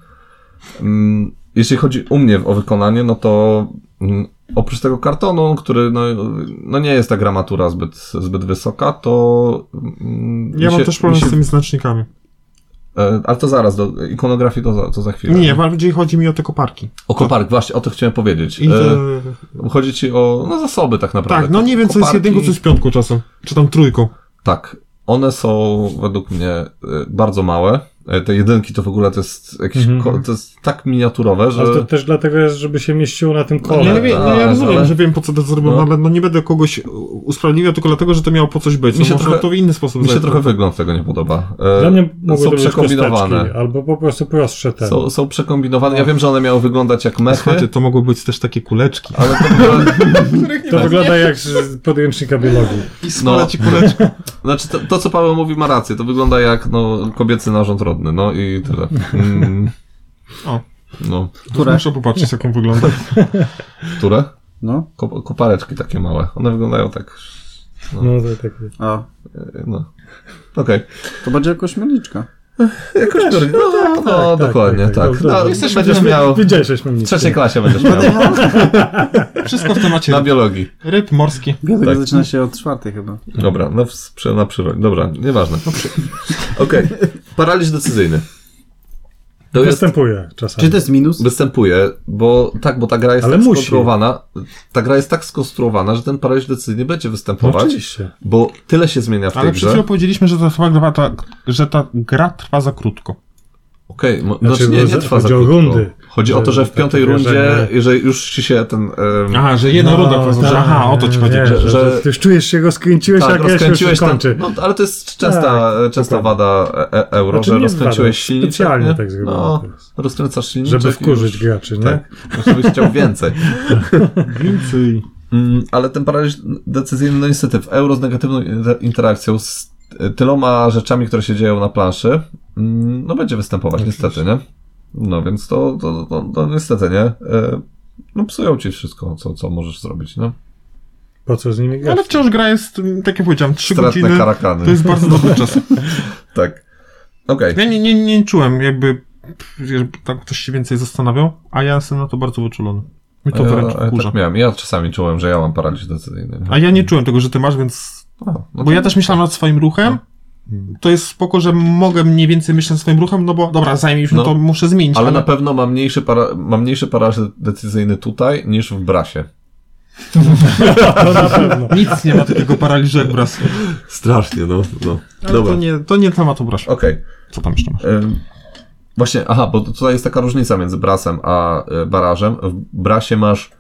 Mm, Jeśli chodzi u mnie o wykonanie, no to mm, oprócz tego kartonu, który no, no nie jest ta gramatura zbyt, zbyt wysoka, to. mm,
Ja
mi
mam
się-
też problem
mi
z
się-
tymi znacznikami.
e, Ale to zaraz, do ikonografii to za, to za chwilę.
Nie, bardziej chodzi mi o te koparki.
O kopark, właśnie, o to chciałem powiedzieć.
I te...
E, chodzi ci o no, zasoby tak naprawdę.
Tak, no nie wiem, co jest
Koparki-
jedynką, co jest piątką czasem. Czy tam trójką.
Tak. One są według mnie e, bardzo małe. E, Te jedynki to w ogóle to jest jakieś,
Mhm.
ko- to jest tak miniaturowe, że...
Ale to też dlatego jest, żeby się mieściło na tym
Ja,
kole.
nie wiem, no ja
tak,
rozumiem,
ale-
że wiem po co to zrobiłem,
No.
ale no nie będę kogoś e, usprawiedliwiał tylko dlatego, że to miało po coś być.
Mi się
no, można
trochę-
to w inny sposób
Mi się
zrobić.
trochę wygląd tego nie podoba. E,
Dla mnie mogły
są
to być kosteczki,
przekombinowane.
albo po prostu prostsze te.
Są, są przekombinowane. Ja wiem, że one miały wyglądać jak
Słuchajcie,
mechy,
to mogły być też takie kuleczki.
ale to w ogóle,
To wygląda jak z podręcznika biologii.
no,
Kuleci, kuleczki.
znaczy to, to, co Paweł mówi, ma rację. To wygląda jak no, kobiecy narząd rodny, no i tyle. Mm,
O.
No,
Które? Muszę popatrzeć, jak on wygląda.
które?
No,
Ko- kopareczki takie małe. One wyglądają tak.
No to tak.
a
e, No. Okej.
to będzie jakoś mieliczka.
Jakoś no, no, no,
tak,
dokładnie,
tak,
tak.
tak, dobra.
No,
Jesteśmy-
będziesz miał.
Widziałeś, żeśmy
W
mieli.
trzeciej klasie będziesz miał.
Wszystko w temacie
Na biologii.
ryb morskich.
Biodek
Tak.
zaczyna się od czwartej chyba.
Dobra, no w, przy, na przyrodzie. Dobra, nieważne.
No
*laughs* Okej, paraliż decyzyjny. To jest,
Występuje czasami.
Czy to jest minus?
występuje, bo tak, bo ta gra jest
Ale
tak
musi.
skonstruowana, ta gra jest tak skonstruowana, że ten paraliż decyzyjny będzie
No,
występować,
oczywiście.
bo tyle się zmienia w
Ale
tej
przed
grze.
chwilą powiedzieliśmy, że ta, chyba gra, ta, że ta gra trwa za krótko.
Okej, mo-
Znaczy,
znaczy nie, nie
że-
trwa za
chodzi o
krótko.
rundy.
Chodzi o to, że w
Że-
piątej
takie
rundzie,
wrażenie-
jeżeli już ci się ten... em,
Aha, że jedna runda po prostu, że
tak,
aha, o to ci chodzi.
wiesz,
że-
że,
że-
Ty już czujesz się, rozkręciłeś,
tak,
jak ja się już
rozkręciłeś ten,
kończy. Tak,
no, ale to jest częsta, częsta
dokładnie.
wada e, e, euro,
Znaczy,
że
nie wada,
rozkręciłeś silniczek.
specjalnie
nie?
tak zrobiłem
no,
teraz.
rozkręcasz silniczek.
Żeby
i
wkurzyć
już-
graczy, nie?
Tak, żebyś chciał
*laughs*
więcej.
Więcej.
Mm, ale ten paraliż decyzyjny, no niestety, w euro z negatywną inter- interakcją, z y, tyloma rzeczami, które się dzieją na planszy, mm, no będzie występować, niestety, nie? No więc to, to, to, to niestety, nie? E, No psują ci wszystko, co, co możesz zrobić, no.
Po co z nimi grać?
Ale wciąż gra jest, m, tak jak powiedziałem, 3
Stratne
godziny.
karakany.
To jest bardzo
*laughs*
dobry czas.
Tak. Okej.
Ja nie, nie, nie czułem, jakby że tak ktoś się więcej zastanawiał, a ja jestem na to bardzo wyczulony. Mi to
Ja-
wręcz
ja,
wkurza.
tak miałem. Ja czasami czułem, że ja mam paraliż decyzyjny. nie?
A ja nie czułem tego, że ty masz, więc.
A, no to- No.
Bo ja też myślałem nad swoim ruchem. To jest spoko, że mogę mniej więcej myśleć nad swoim ruchem, no bo dobra, zajmie się, no,
No.
to muszę zmienić.
Ale na pewno mam mniejszy, para, mam mniejszy paraliż decyzyjny tutaj niż w brasie.
To na pewno.
*laughs* Nic nie ma takiego paraliżu jak wraz.
Strasznie, no. no.
Ale to nie, to nie temat obraż.
Okej.
Co tam jeszcze masz?
Ym, Właśnie, aha, bo tutaj jest taka różnica między brasem a y, barażem. W brasie masz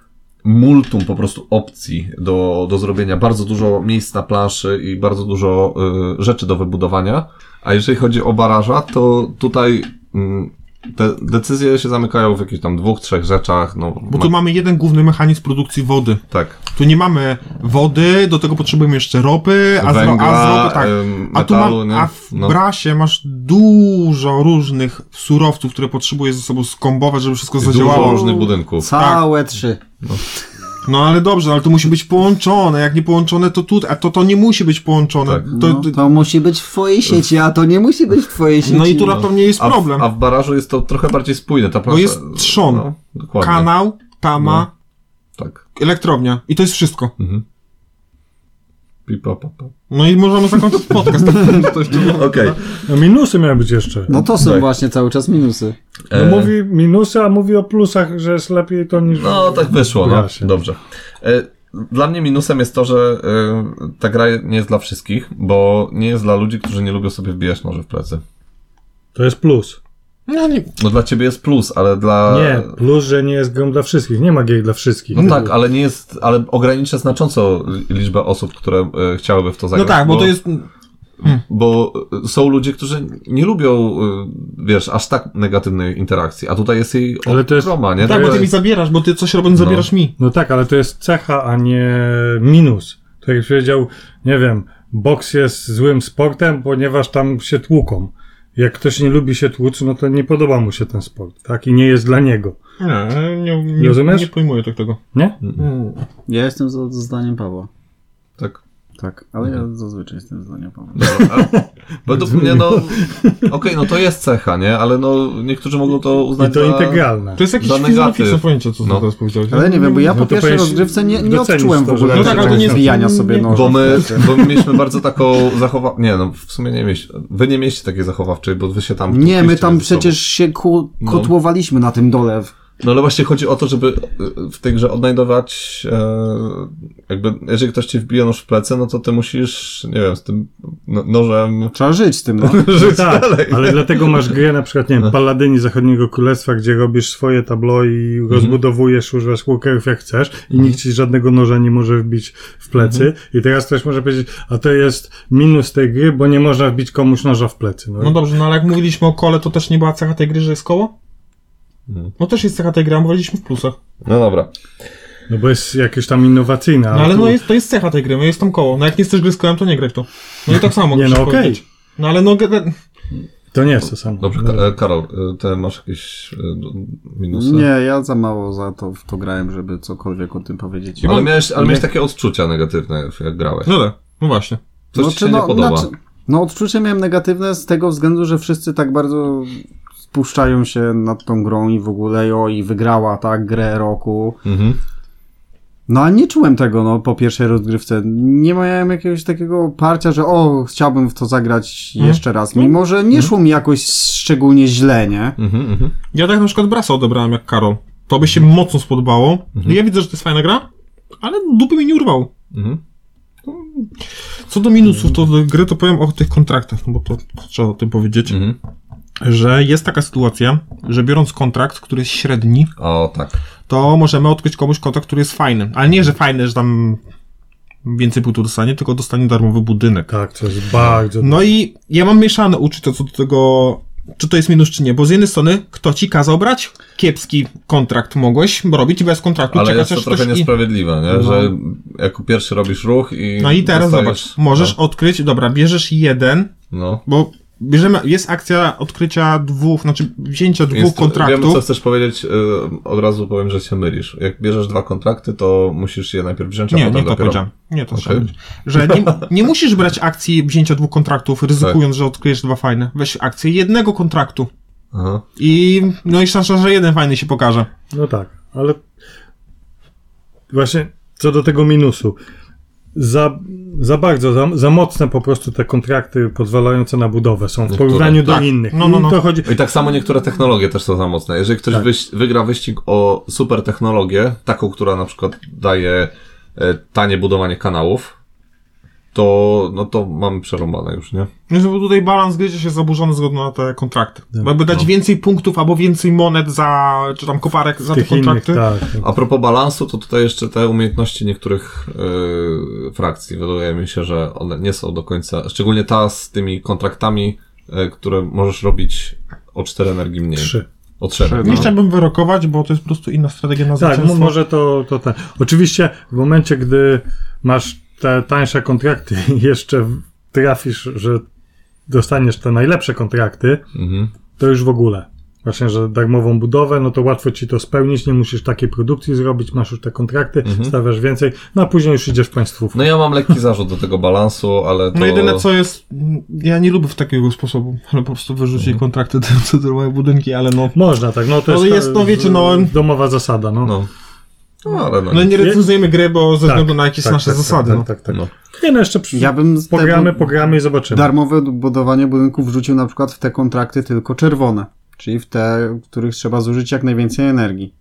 multum po prostu opcji do, do zrobienia, bardzo dużo miejsc na planszy i bardzo dużo y, rzeczy do wybudowania. A jeżeli chodzi o baraża, to tutaj mm, te decyzje się zamykają w jakichś tam dwóch, trzech rzeczach. No,
Bo tu mamy jeden główny mechanizm produkcji wody.
tak,
Tu nie mamy wody, do tego potrzebujemy jeszcze ropy, a, z, ro- a z
węgla,
ropy tak.
ym,
A, tu
metalu,
ma,
nie?
a w
No.
brasie masz dużo różnych surowców, które potrzebujesz ze sobą skombować, żeby wszystko
dużo
zadziałało.
różnych budynków.
Całe trzy.
No ale dobrze, ale to musi być połączone. Jak nie połączone, to tu, a to to nie musi być połączone.
Tak.
To,
No, to musi być w twojej sieci, a to nie musi być w twojej sieci.
no i tu na pewno nie jest
A w,
problem.
a w barażu jest to trochę bardziej spójne. Ta plansza,
jest trzon,
No, dokładnie.
Kanał, tama,
Tak.
elektrownia. I to jest wszystko.
Mhm. Pipa, pa, pa.
No i możemy zakończyć
*laughs*
podcast. To jeszcze nie-
Okej.
No minusy miały być jeszcze.
No to są
Tak.
właśnie cały czas minusy.
E,
No mówi minusy, a mówi o plusach, że jest lepiej to niż...
No, tak wyszło, no.
Gra się.
Dobrze. E, Dla mnie minusem jest to, że e, ta gra nie jest dla wszystkich, bo nie jest dla ludzi, którzy nie lubią sobie wbijać noży w plecy.
To jest plus.
No nie,
No dla ciebie jest plus, ale dla...
Nie, plus, że nie jest grą dla wszystkich. Nie ma gier dla wszystkich.
No tak, ale nie jest, ale ogranicza znacząco liczbę osób, które e, chciałyby w to
no
zagrać.
tak, bo to jest...
Bo e, są ludzie, którzy nie lubią, e, wiesz, aż tak negatywnej interakcji, a tutaj jest jej
Ale to jest-
ogroma, nie?
Tak, bo
Tutaj-
No. ty mi zabierasz, bo ty coś robiąc zabierasz mi.
No tak, ale to jest cecha, a nie minus. Tak jak powiedział, nie wiem, boks jest złym sportem, ponieważ tam się tłuką. Jak ktoś nie lubi się tłuc, no to nie podoba mu się ten sport, tak? I nie jest dla niego,
Nie, nie, nie,
Rozumiesz?
nie pojmuję tak tego.
nie?
Mm.
Hmm.
Ja jestem za, za zdaniem Pawła.
Tak.
Tak, ale
Mhm.
ja zazwyczaj jestem za zdaniem Pawła.
Według mnie,
*laughs*
no. Okej, no to jest cecha, nie? Ale no, niektórzy mogą to
I
uznać.
to
za...
integralne.
To jest jakieś
Za negatyw.
filozoficzne pojęcie, co
No.
no. teraz powiedziałeś.
Ale nie wiem, bo ja po
No to
pierwszej
powinieneś
rozgrywce nie, nie
docenić
odczułem
to,
w ogóle
że-
No tak, ale to
tego
nie-
zwijania sobie
nie-
noża.
Bo my, bo my mieliśmy bardzo taką zachowawczą. Nie, no w sumie nie mieliście. Wy nie mieliście takiej zachowawczej, bo wy się
Nie,
tam.
my
tłukliście
tam
ze sobą.
przecież się ku,
No.
kotłowaliśmy na tym dole.
No ale właśnie chodzi o to, żeby y, w tej grze odnajdować, e, jakby, jeżeli ktoś ci wbije nóż w plecy, no to ty musisz, nie wiem, z tym no- nożem
Trzeba żyć z tym,
*laughs*
no.
No tak, ale dlatego masz grę na przykład, nie
No.
wiem, Paladyni Zachodniego Królestwa, gdzie robisz swoje tablo i
Mhm.
rozbudowujesz, używasz łukerów jak chcesz i nikt ci żadnego noża nie może wbić w plecy
Mhm.
i teraz ktoś może powiedzieć, a to jest minus tej gry, bo nie można wbić komuś noża w plecy. No,
No dobrze, no ale jak mówiliśmy o kole, to też nie była cecha tej gry, że jest koło?
Mhm.
No też jest cecha tej gry, a mówiliśmy w plusach.
No dobra.
no bo jest jakieś tam innowacyjne.
No ale
tu-
no jest, to jest cecha tej gry, no jest tam koło. No jak nie chcesz gry z kołem, to nie graj w to. No i tak samo
Nie,
możesz
no okej.
powiedzieć. tak. No ale no... ge-
To nie jest to samo.
Dobrze,
Mhm.
No,
Ka- e, Karol, e, ty masz jakieś e, minusy?
Nie, ja za mało za to w to grałem, żeby cokolwiek o tym powiedzieć.
Ale miałeś, ale miałeś takie odczucia negatywne, jak grałeś.
No tak, no właśnie.
Coś ci
Znaczy,
się nie podoba.
znaczy- no odczucie miałem negatywne z tego względu, że wszyscy tak bardzo spuszczają się nad tą grą i w ogóle jo, i wygrała tak grę roku.
Mhm.
No a nie czułem tego no, po pierwszej rozgrywce. Nie miałem jakiegoś takiego parcia, że o, chciałbym w to zagrać
Mhm.
jeszcze raz. Mimo, że nie szło mi jakoś szczególnie źle, nie?
Mhm, mhm.
Ja tak na przykład Brasa odebrałem jak Karol. To by się mocno spodobało. Ja widzę, że to jest fajna gra, ale dupy mi nie urwał.
Mhm.
Co do minusów to do gry, to powiem o tych kontraktach, no bo to trzeba o tym powiedzieć,
Mhm.
że jest taka sytuacja, że biorąc kontrakt, który jest średni,
O, tak.
to możemy odkryć komuś kontrakt, który jest fajny. Ale nie, że fajny, że tam więcej punktów dostanie, tylko dostanie darmowy budynek.
Tak, to jest bardzo...
No i ja mam mieszane uczucia co do tego, czy to jest minus, czy nie, bo z jednej strony, kto ci kazał brać kiepski kontrakt? Mogłeś robić bez kontraktu,
Ale
czekać
jest to
aż
trochę
ktoś... I...
niesprawiedliwe, nie? że jako pierwszy robisz ruch i.
No i teraz
dostajesz-
zobacz, możesz odkryć, dobra, bierzesz jeden,
No.
bo bierzemy, jest akcja odkrycia dwóch, znaczy wzięcia dwóch
Jest-
kontraktów.
Wiem, co chcesz powiedzieć, y, od razu powiem, że się mylisz. Jak bierzesz dwa kontrakty, to musisz je najpierw wziąć, a
Nie,
potem
nie to
dopiero...
powiedziałem. Nie to
Okej.
okay. Że nie, nie musisz brać akcji wzięcia dwóch kontraktów, ryzykując, że odkryjesz dwa fajne. Weź akcję jednego kontraktu.
Aha.
I no i szansa, że jeden fajny się pokaże.
No tak, ale właśnie co do tego minusu. Za, za bardzo, za, za mocne po prostu te kontrakty pozwalające na budowę są w
Niektóre,
porównaniu do
tak.
innych.
No, no,
I
no.
To chodzi,
I tak samo niektóre technologie też są za mocne. Jeżeli ktoś
Tak.
wyś- wygra wyścig o super technologię, taką, która na przykład daje e, tanie budowanie kanałów, to no to mamy przerąbane już, nie?
Więc był No, tutaj balans gry się zaburzony zgodno na te kontrakty. Bo Jakby dać więcej punktów albo więcej monet za, czy tam koparek za te
tych innych,
kontrakty.
tak.
A propos balansu, to tutaj jeszcze te umiejętności niektórych e, frakcji, wydaje mi się, że one nie są do końca, szczególnie ta z tymi kontraktami, e, które możesz robić o 4 energii mniej.
Trzy.
O 3.
Trzy,
Nie
no.
chciałbym wyrokować, bo to jest po prostu inna strategia na
Tak, mo-
zwycięstwo.
może to, to ten. Oczywiście w momencie, gdy masz te tańsze kontrakty i jeszcze w- trafisz, że dostaniesz te najlepsze kontrakty,
Mhm.
to już w ogóle. Właśnie, że darmową budowę, no to łatwo ci to spełnić, nie musisz takiej produkcji zrobić, masz już te kontrakty, stawiasz więcej, no a później już idziesz w państwówkę.
No ja mam lekki zarzut do tego balansu, ale to...
No jedyne co jest, ja nie lubię w takiego sposobu, ale po prostu wyrzucić
Mhm.
kontrakty *laughs* do, do moje budynki, ale no.
Można, tak, no to
No
jest,
jest,
ta-
no wiecie, no-
domowa zasada, no.
No. No, ale no,
No
nic.
nie recenzujemy gry, bo ze
Tak,
względu na jakieś
tak,
nasze
tak,
zasady.
Tak,
no.
tak, tak, tak.
No.
Nie, no jeszcze przy...
Ja bym z
pogramy,
tego
pogramy i zobaczymy.
darmowe budowanie budynków wrzucił na przykład w te kontrakty tylko czerwone. Czyli w te, w których trzeba zużyć jak najwięcej energii.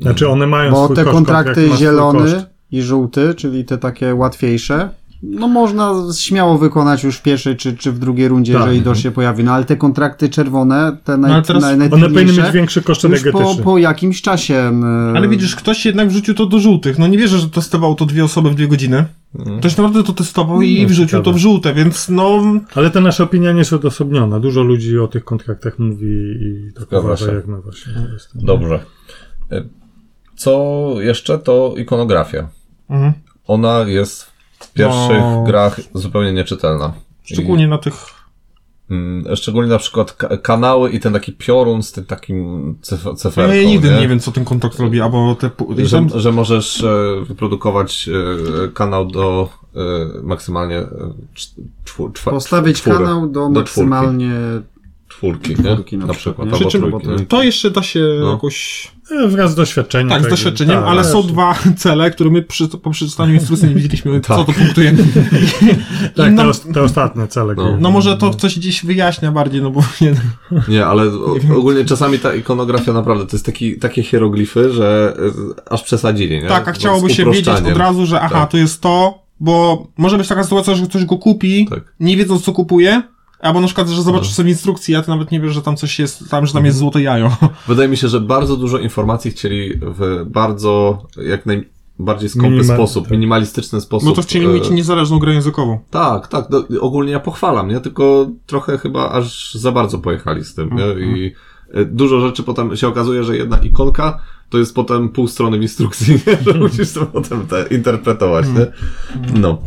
Znaczy one mają
Bo
swój
te
koszt,
kontrakty
kontrakt ma swój
zielony
koszt.
i żółty, czyli te takie łatwiejsze, no można śmiało wykonać już w pierwszej czy, czy w drugiej rundzie,
Tak.
jeżeli dość się pojawi, no ale te kontrakty czerwone, te naj,
ale teraz
naj,
One powinny mieć
najtrudniejsze,
większy koszt
już po,
energetyczny.
po jakimś czasie. m,
tak.
Ale widzisz, ktoś jednak wrzucił to do żółtych. No nie wierzę, że testował to dwie osoby w dwie godziny. Ktoś naprawdę to testował i wrzucił to
Mhm. ciekawe.
w żółte, więc no...
Ale te nasze opinie nie są odosobnione. Dużo ludzi o tych kontraktach mówi i tak
Zgadza
uważa,
się.
jak my właśnie. No, Jestem.
Dobrze. Y, E, Co jeszcze, to ikonografia.
Mhm.
Ona jest w pierwszych
No.
grach zupełnie nieczytelna.
Szczególnie na tych
I, mm, szczególnie na przykład ka- kanały i ten taki piorun z tym takim cyf- cyferką,
No Ja nigdy
nie?
nie wiem, co ten kontrakt robi, albo te... pu-
Że,
tam-
że możesz e, wyprodukować e, kanał do e, maksymalnie e, cz- czwór, czwa,
Postawić
czwóry,
kanał do maksymalnie...
czwórki,
czwórki
nie?
na
na
przykład,
przykład,
nie?
albo
Przy czym
trójki. nie?
to jeszcze da się
No.
jakoś...
E, Wraz z doświadczeniem.
Tak, z
tak,
doświadczeniem,
tak,
ale
tak.
są dwa *laughs* cele, które my przy, po przeczytaniu instrukcji nie wiedzieliśmy, co to No, punktuje.
*laughs* Tak,
Inną-
te, os- te ostatnie cele.
No.
główne.
No może to coś gdzieś wyjaśnia bardziej, no bo *laughs* nie, *laughs*
Nie, ale o- ogólnie czasami ta ikonografia naprawdę to jest taki, takie hieroglify, że e, aż przesadzili, nie?
tak, a
Z
chciałoby się wiedzieć
uproszczeniem.
od razu, że aha,
Tak.
to jest to, bo może być taka sytuacja, że ktoś go kupi,
Tak.
nie wiedząc co kupuje, albo na przykład, że zobaczysz sobie instrukcję, a ty nawet nie wiesz, że tam coś jest, tam, że tam jest złote
*laughs*
jajo.
Wydaje mi się, że bardzo dużo informacji chcieli w bardzo, jak najbardziej skąpy
Minimal-
sposób,
tak.
minimalistyczny sposób.
No to chcieli
e,
mieć niezależną grę językową.
Tak, tak. No, ogólnie ja pochwalam, nie? Tylko trochę chyba aż za bardzo pojechali z tym, nie? I e, dużo rzeczy potem się okazuje, że jedna ikonka to jest potem pół strony w instrukcji, *laughs* nie? że musisz to potem te interpretować, nie? No.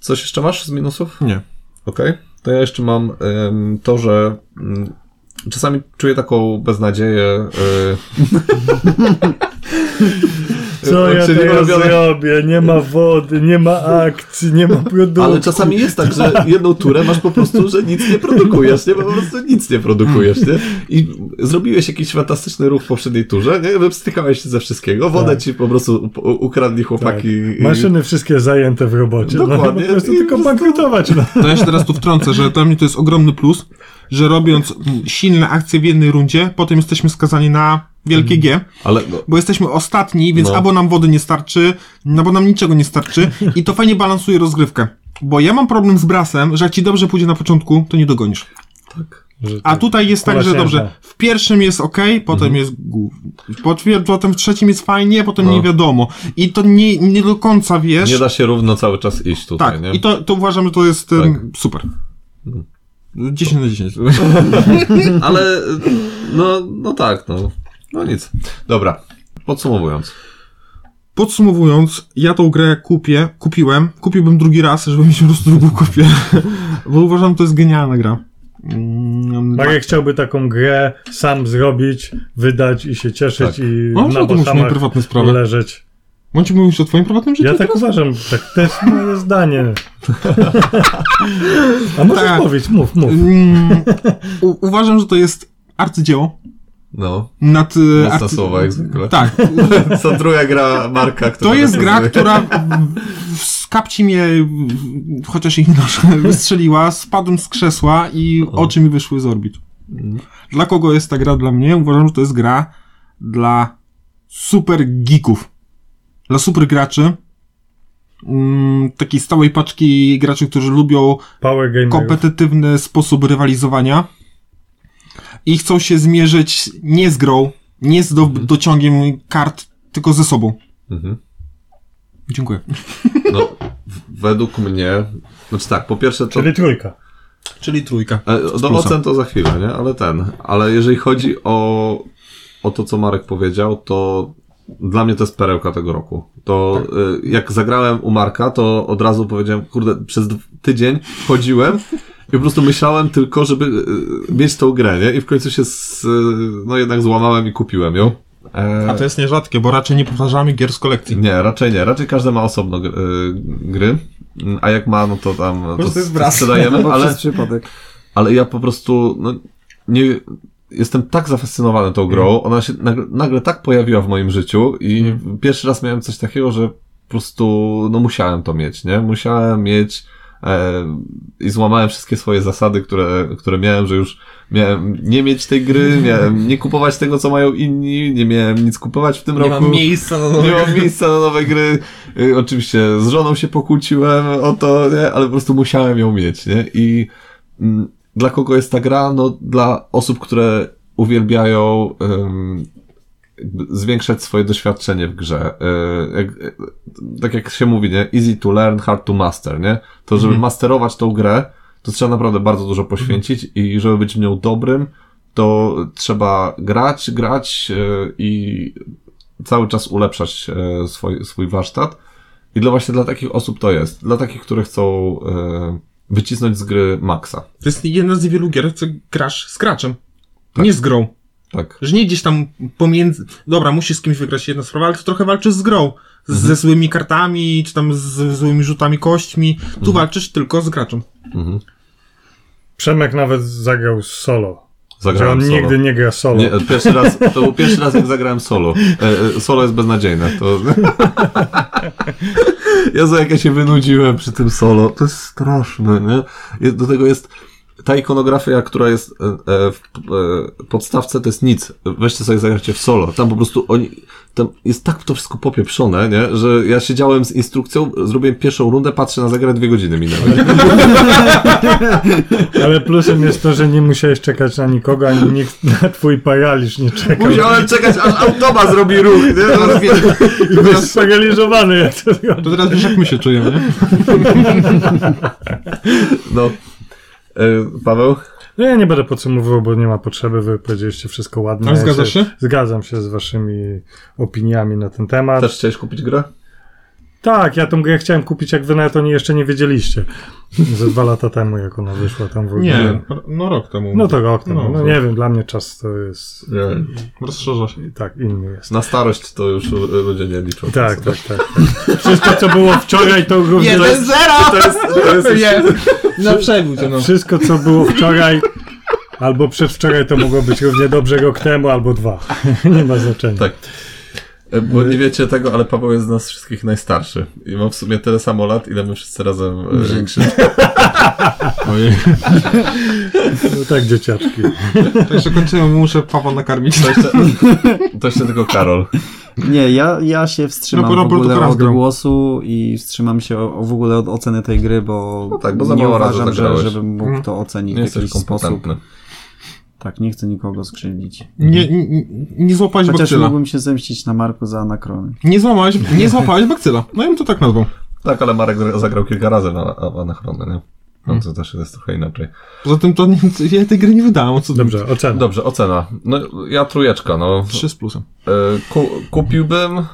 Coś jeszcze masz z minusów?
Nie.
Okej. To ja jeszcze mam em, to, że mm, czasami czuję taką beznadzieję. y,
Co ja
czyli
teraz
ulubione-
zrobię? Nie ma wody, nie ma akcji, nie ma produktu.
Ale czasami jest tak,
*laughs*
że jedną turę masz po prostu, że nic nie produkujesz, nie? Bo po prostu nic nie produkujesz, nie? I zrobiłeś jakiś fantastyczny ruch w poprzedniej turze, nie? Wypstykałeś się ze wszystkiego, wodę
Tak.
ci po prostu u- u- ukradli
Tak.
chłopaki. i-
Maszyny wszystkie zajęte w robocie. No,
Dokładnie.
po prostu
I
tylko
po prostu-
bankrutować. No.
To ja się teraz tu wtrącę, że dla mnie to jest ogromny plus, że robiąc mm, silne akcje w jednej rundzie, potem jesteśmy skazani na wielkie G,
Ale no,
bo jesteśmy ostatni, więc
No.
albo nam wody nie starczy, albo nam niczego nie starczy i to fajnie balansuje rozgrywkę. Bo ja mam problem z brasem, że jak ci dobrze pójdzie na początku, to nie dogonisz. Tak. A tutaj jest tak, że
Kula
dobrze,
śnieżna.
w pierwszym jest ok, potem jest gó- potwier- potem w trzecim jest fajnie, potem
Mhm. No.
nie wiadomo. I to nie, nie do końca wiesz.
nie da się równo cały czas iść tutaj,
tak,
nie? Tak.
i to, to uważam, że to jest em, super. 10 na 10.
Ale no, no tak, no. No nic. Dobra. Podsumowując.
Podsumowując, ja tą grę kupię, kupiłem, kupiłbym drugi raz, żeby mieć po prostu drugą kopię, *laughs* bo uważam, że to jest genialna gra. Mm,
Marek Tak chciałby taką grę sam zrobić, wydać i się cieszyć
Tak.
i
No,
na
no to już moje
bosamach
prywatne sprawy.
leżeć.
Bądź mówisz o twoim prywatnym życiu?
Ja tak uważam, tak, to jest moje
*laughs*
zdanie. A możesz
Tak.
powiedzieć, mów, mów.
Mm, u- uważam, że to jest arcydzieło.
No. *laughs*
Nad, e,
Mocne słowa jak zwykle.
Tak,
Co druga gra Marka, która
To jest gra,
nawiązuje-
która w- w- skapci mnie, w- chociaż jej noszę, *laughs* wystrzeliła, spadłem z krzesła i oczy mi wyszły z orbit. Dla kogo jest ta gra dla mnie? Uważam, że to jest gra dla super geeków. Dla super graczy. Mm, takiej stałej paczki graczy, którzy lubią
Power Gamer.
kompetytywny sposób rywalizowania i chcą się zmierzyć nie z grą, nie z do, dociągiem kart, tylko ze sobą.
Mhm.
Dziękuję.
No, w- według mnie, znaczy tak, po pierwsze to...
Czyli trójka.
Czyli trójka.
E, Do
plusem.
ocen to za chwilę, nie? Ale ten. Ale jeżeli chodzi o, o to, co Marek powiedział, to dla mnie to jest perełka tego roku. To
Tak.
y, jak zagrałem u Marka, to od razu powiedziałem, kurde, przez d- tydzień chodziłem i po prostu myślałem tylko, żeby y, mieć tą grę, nie? I w końcu się z, y, no jednak złamałem i kupiłem ją. E,
A to jest nierzadkie, bo raczej nie powtarzamy gier z kolekcji.
Nie, raczej nie. Raczej każdy ma osobno gr- y, gry. Mm, A jak ma, no to tam to
prostu jest
s-
wraz. *laughs*
sprzedajemy,
Chyba
no, ale
przez
*laughs*
przypadek.
ale ja po prostu no, nie, jestem tak zafascynowany tą grą. Ona się nagle, nagle tak pojawiła w moim życiu i pierwszy raz miałem coś takiego, że po prostu no musiałem to mieć, nie? Musiałem mieć e, i złamałem wszystkie swoje zasady, które, które miałem, że już miałem nie mieć tej gry, miałem nie kupować tego, co mają inni, nie miałem nic kupować w tym roku.
miejsca na
Nie mam miejsca na nowe gry. Y, Oczywiście z żoną się pokłóciłem o to, nie? ale po prostu musiałem ją mieć. Nie? I mm, dla kogo jest ta gra? No, dla osób, które uwielbiają ym, jakby zwiększać swoje doświadczenie w grze. Y, jak, y, tak jak się mówi, nie? Easy to learn, hard to master, nie? To, żeby masterować tą grę, to trzeba naprawdę bardzo dużo poświęcić i żeby być w nią dobrym, to trzeba grać, grać y, i cały czas ulepszać e, swój, swój warsztat. I dla właśnie dla takich osób to jest. Dla takich, które chcą e, wycisnąć z gry maksa.
To jest jedna z niewielu gier, co grasz z graczem. Nie z grą.
Tak.
Że nie gdzieś tam pomiędzy. Dobra, musisz z kimś wygrać jedna sprawa, ale to trochę walczysz z grą. Z, Ze złymi kartami, czy tam z złymi rzutami kośćmi. Tu walczysz tylko z graczem.
Mhm.
Przemek nawet zagrał solo. Że
Zagrałem
on
solo.
nigdy nie gra solo.
Nie, pierwszy raz, to był pierwszy raz jak zagrałem solo. E, e, Solo jest beznadziejne. To... *laughs* Jezu, jak ja się wynudziłem przy tym solo. To jest straszne, nie? Je- Do tego jest ta ikonografia, która jest e, e, w e, podstawce, to jest nic. Weźcie sobie, zagrajcie w solo. Tam po prostu oni, tam jest tak to wszystko popieprzone, nie? Że ja siedziałem z instrukcją, zrobiłem pierwszą rundę, patrzę na zegarek, dwie godziny minęły.
Ale plusem jest to, że nie musiałeś czekać na nikogo, ani nikt na twój paraliż nie czekał.
*laughs* Musiałem czekać, aż automa zrobi ruch, *laughs* nie? Zaraz wie-
I byłeś sparaliżowany, jak to
To teraz wiesz, jak my się czujemy, nie?
No. E, Paweł?
No ja nie będę podsumowywał, bo nie ma potrzeby, wy powiedzieliście wszystko ładnie.
Ale
Ja
zgadzasz się?
Zgadzam się z waszymi opiniami na ten temat.
Też chciałeś kupić grę?
Tak, ja tą grę chciałem kupić, jak wy nawet o niej jeszcze nie wiedzieliście. Ze dwa lata temu, jak ona wyszła tam w ogóle.
Nie, no rok temu.
No to rok temu.
No,
No,
to-
nie wiem, dla mnie czas to jest...
Nie.
Rozszerza się.
I tak, inny jest.
Na starość to już y, ludzie nie liczą.
Tak, tak, tak. tak. Wszystko, co było wczoraj, to również...
To jest, to jest
Nie, na przegód, no.
Wszystko, co było wczoraj albo przedwczoraj, to mogło być równie dobrze rok temu albo dwa. Nie ma znaczenia.
Tak. E, Bo nie wiecie tego, ale Paweł jest z nas wszystkich najstarszy. I ma w sumie tyle samo lat, ile my wszyscy razem e, *laughs* krzyczymy.
Ojej.
No tak, dzieciaczki.
To jeszcze kończymy, muszę Pawła nakarmić.
To jeszcze, to jeszcze tylko Karol.
Nie, ja, ja się
No,
wstrzymam
bo
w
Robert
ogóle
teraz
od
grał.
głosu i wstrzymam się o, o w ogóle od oceny tej gry, bo,
No tak, bo za
nie
mało razy
uważam, że,
zagrałeś.
żebym mógł to ocenić
Nie
w jakiś
jesteś
sposób.
kompetentny.
Tak, nie chcę nikogo skrzywdzić.
Nie, nie, nie złapałeś
Chociaż
bakcyla.
mógłbym się zemścić na Marku za anakrony.
Nie złamałeś, nie złapałeś bakcyla. No ja bym to tak nazwał.
Tak, ale Marek gra- zagrał kilka razy na, na Anachronę, nie? No
Hmm.
to też jest trochę inaczej.
Poza tym to nie, ja tej gry nie wydałem. o Co
Dobrze, ocena.
Dobrze, ocena. No ja trójeczka, no.
Trzy z plusem.
E, ku, kupiłbym, e,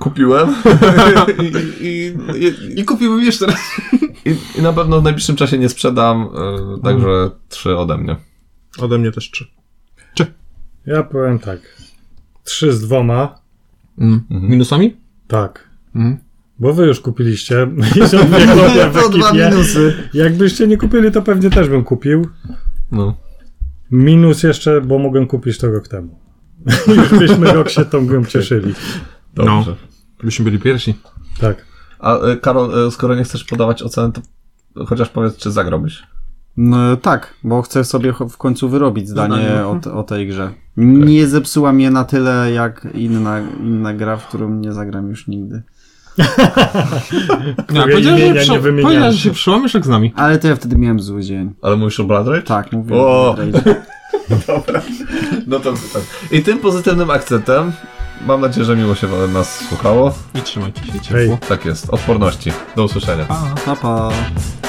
kupiłem I, i, i,
I kupiłbym jeszcze raz.
I, I na pewno w najbliższym czasie nie sprzedam, y, także trzy ode mnie.
Ode mnie też trzy.
Ja powiem tak. Trzy z dwoma.
Mhm. Minusami?
Tak.
Mhm.
Bo wy już kupiliście *laughs* i są dwie kopie w
To dwa
ekipie.
minusy.
Jakbyście nie kupili, to pewnie też bym kupił.
No.
Minus jeszcze, bo mogłem kupić to rok temu. *laughs* Już byśmy rok się tą grą cieszyli.
Dobrze.
Byśmy No. byli pierwsi.
Tak.
A y, Karol, y, skoro nie chcesz podawać ocen, to chociaż powiedz, czy zagrałbyś.
No tak, bo chcę sobie cho- w końcu wyrobić
Zdanie,
zdanie o, t- o tej grze. Nie zepsuła mnie na tyle jak inna, inna gra, w którą nie zagram już nigdy.
Nie,
Które
powiedziałem, że,
imienia
prze...
nie wymieniamy.
powiedziałem, że się przełamiesz jak z nami.
Ale to ja wtedy miałem zły dzień.
Ale mówisz o Blood Rage?
Tak, mówię.
O!
o Blade.
No to tak. I tym pozytywnym akcentem mam nadzieję, że miło się nas słuchało.
I trzymajcie się
Hej.
ciepło.
Tak jest. Odporności. Do usłyszenia.
Pa.
Pa, pa.